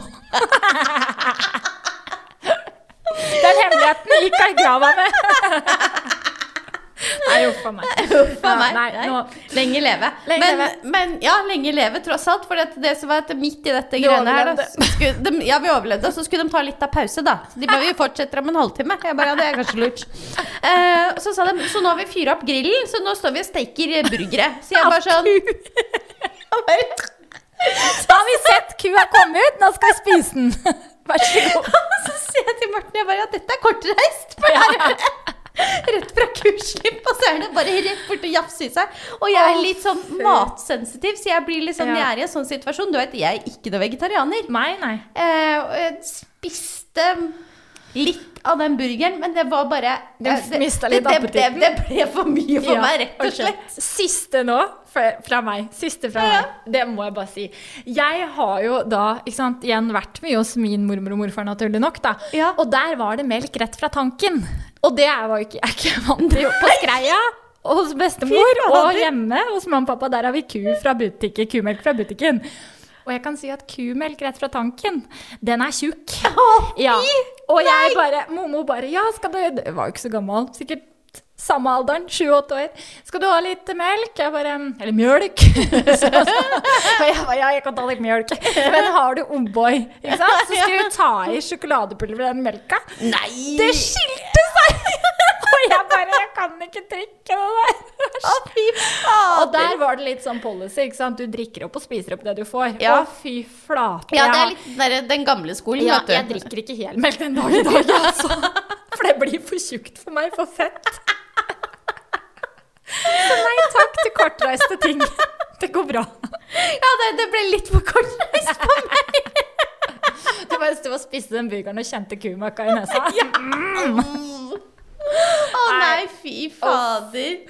Den hemmeligheten gikk jeg i grava med. Nei, huff a meg.
For meg.
Nei,
Nei.
nå-
Lenge leve.
Lenge
men,
leve.
men ja, lenge leve tross alt. For det, det som var at midt i dette
Vi
greiene her, da,
overlevde.
så skulle de, ja, vi overlevde, og så skulle de ta litt av pause, da. Så de bare, vi fortsetter om en halvtime. Jeg bare, ja, det er kanskje lurt. Eh, og så sa de, så nå har vi fyra opp grillen, så nå står vi og steker burgere. Så jeg bare sånn Jeg bare-
Da har vi sett kua komme ut, nå skal vi spise den. *laughs* Vær så god.
*laughs* Så sier jeg til Morten jeg bare, at dette er kortreist. For det er rett fra kursslipp, og så er det bare rett bort og jafse i seg. Og jeg er litt sånn matsensitiv, så jeg blir litt sånn,
Ja.
jeg er i en sånn situasjon. Du vet, jeg er ikke noe vegetarianer.
Nei, nei.
Eh, og jeg spiste litt av den burgeren, men det var bare
Du
eh, det,
mistet
det,
litt
det, det,
appetitten.
det ble for mye for
Ja,
meg, rett og
ok.
slett.
Siste nå fra, fra meg. Siste fra
Ja.
meg. Det må jeg bare si. Jeg har jo da ikke sant, igjen vært mye hos min mormor og morfar, naturlig nok. da.
Ja.
Og der var det melk rett fra tanken. Og det er jo ikke, jeg er ikke vant til *laughs* på Skreia. Og hos bestemor
Fy fader.
og hjemme hos mamma og pappa. Der har vi ku fra butikken, kumelk fra butikken. Og jeg kan si at kumelk rett fra tanken, den er tjukk.
Å,
Ja.
fy,
Og jeg
nei!
bare, Mommo bare Ja, skal du Jeg var jo ikke så gammel. Sikkert samme alderen. Sju-åtte år. Skal du ha litt melk? Jeg bare «Mm, Eller mjølk. *laughs* Så- Og jeg bare Ja, jeg kan ta litt mjølk. Men har du O'boy, ikke sant? Så skulle du ta i sjokoladepulver i den melka.
Nei!
Det skilte seg! *laughs* Og jeg bare Jeg kan ikke drikke det der.
Å, fy fader.
Og der var det litt sånn policy. ikke sant? Du drikker opp og spiser opp det du får.
Ja.
Å, fy flate.
Ja, det
jeg-
er litt den der, den gamle skolen,
ja,
vet du.
jeg drikker ikke helmelk den dag i dag,
*laughs*
altså. For det blir for tjukt for meg, for fett. Så nei takk til kortreiste ting. *laughs* Det går bra.
Ja, det, det ble litt for kortreist. *laughs*
Du bare sto og spiste den burgeren og kjente kumøkka i
*laughs*
nesa. Mm.
Å nei, fy fader.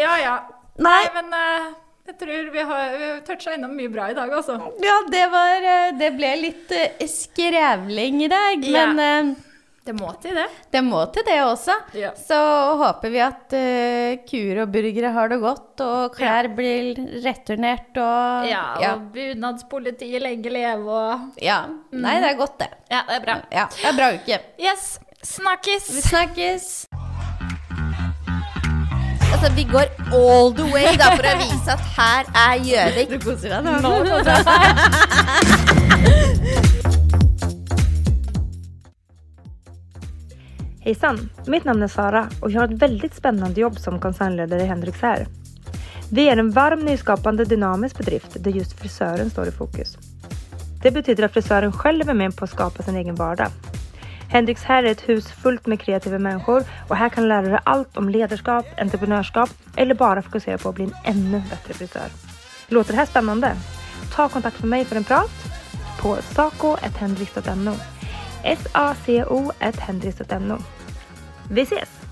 Ja ja.
*laughs* Nei,
Nei, men eh, jeg tror vi har, vi har toucha innom mye bra i dag, altså.
ja, det var eh, Det ble litt eh, skrevling i dag,
Ja.
men eh,
Det må til, det.
det må til det også.
Ja.
Så håper vi at eh, kuer og burgere har det godt, og klær blir returnert og
Ja,
ja.
og bunadspolitiet lenge leve og
ja. Nei, det er godt, det.
Ja, det er bra.
Ja, det er bra uke.
Yes. Snakkes.
Vi snakkes.
Altså, vi går all the way da for å vise at her er Gjøvik.
Du koser deg
Nå
*laughs*
koser jeg meg.
Hejsan! Mitt namn är Sara och jag har ett väldigt spännande jobb som koncernledare i Hendrix här. Vi är en varm, nyskapande, dynamisk bedrift där just frisören står i fokus. Det betyder att frisören själv är med på att skapa sin egen vardag. Hendrix här är ett hus fullt med kreativa människor och här kan du lära dig allt om ledarskap, entreprenörskap eller bara fokusera på att bli en ännu bättre frisör. Låter det här spännande? Ta kontakt med mig för en prat på saco.hendrix.no. S-A-C-O.hendrix.no. Vi ses!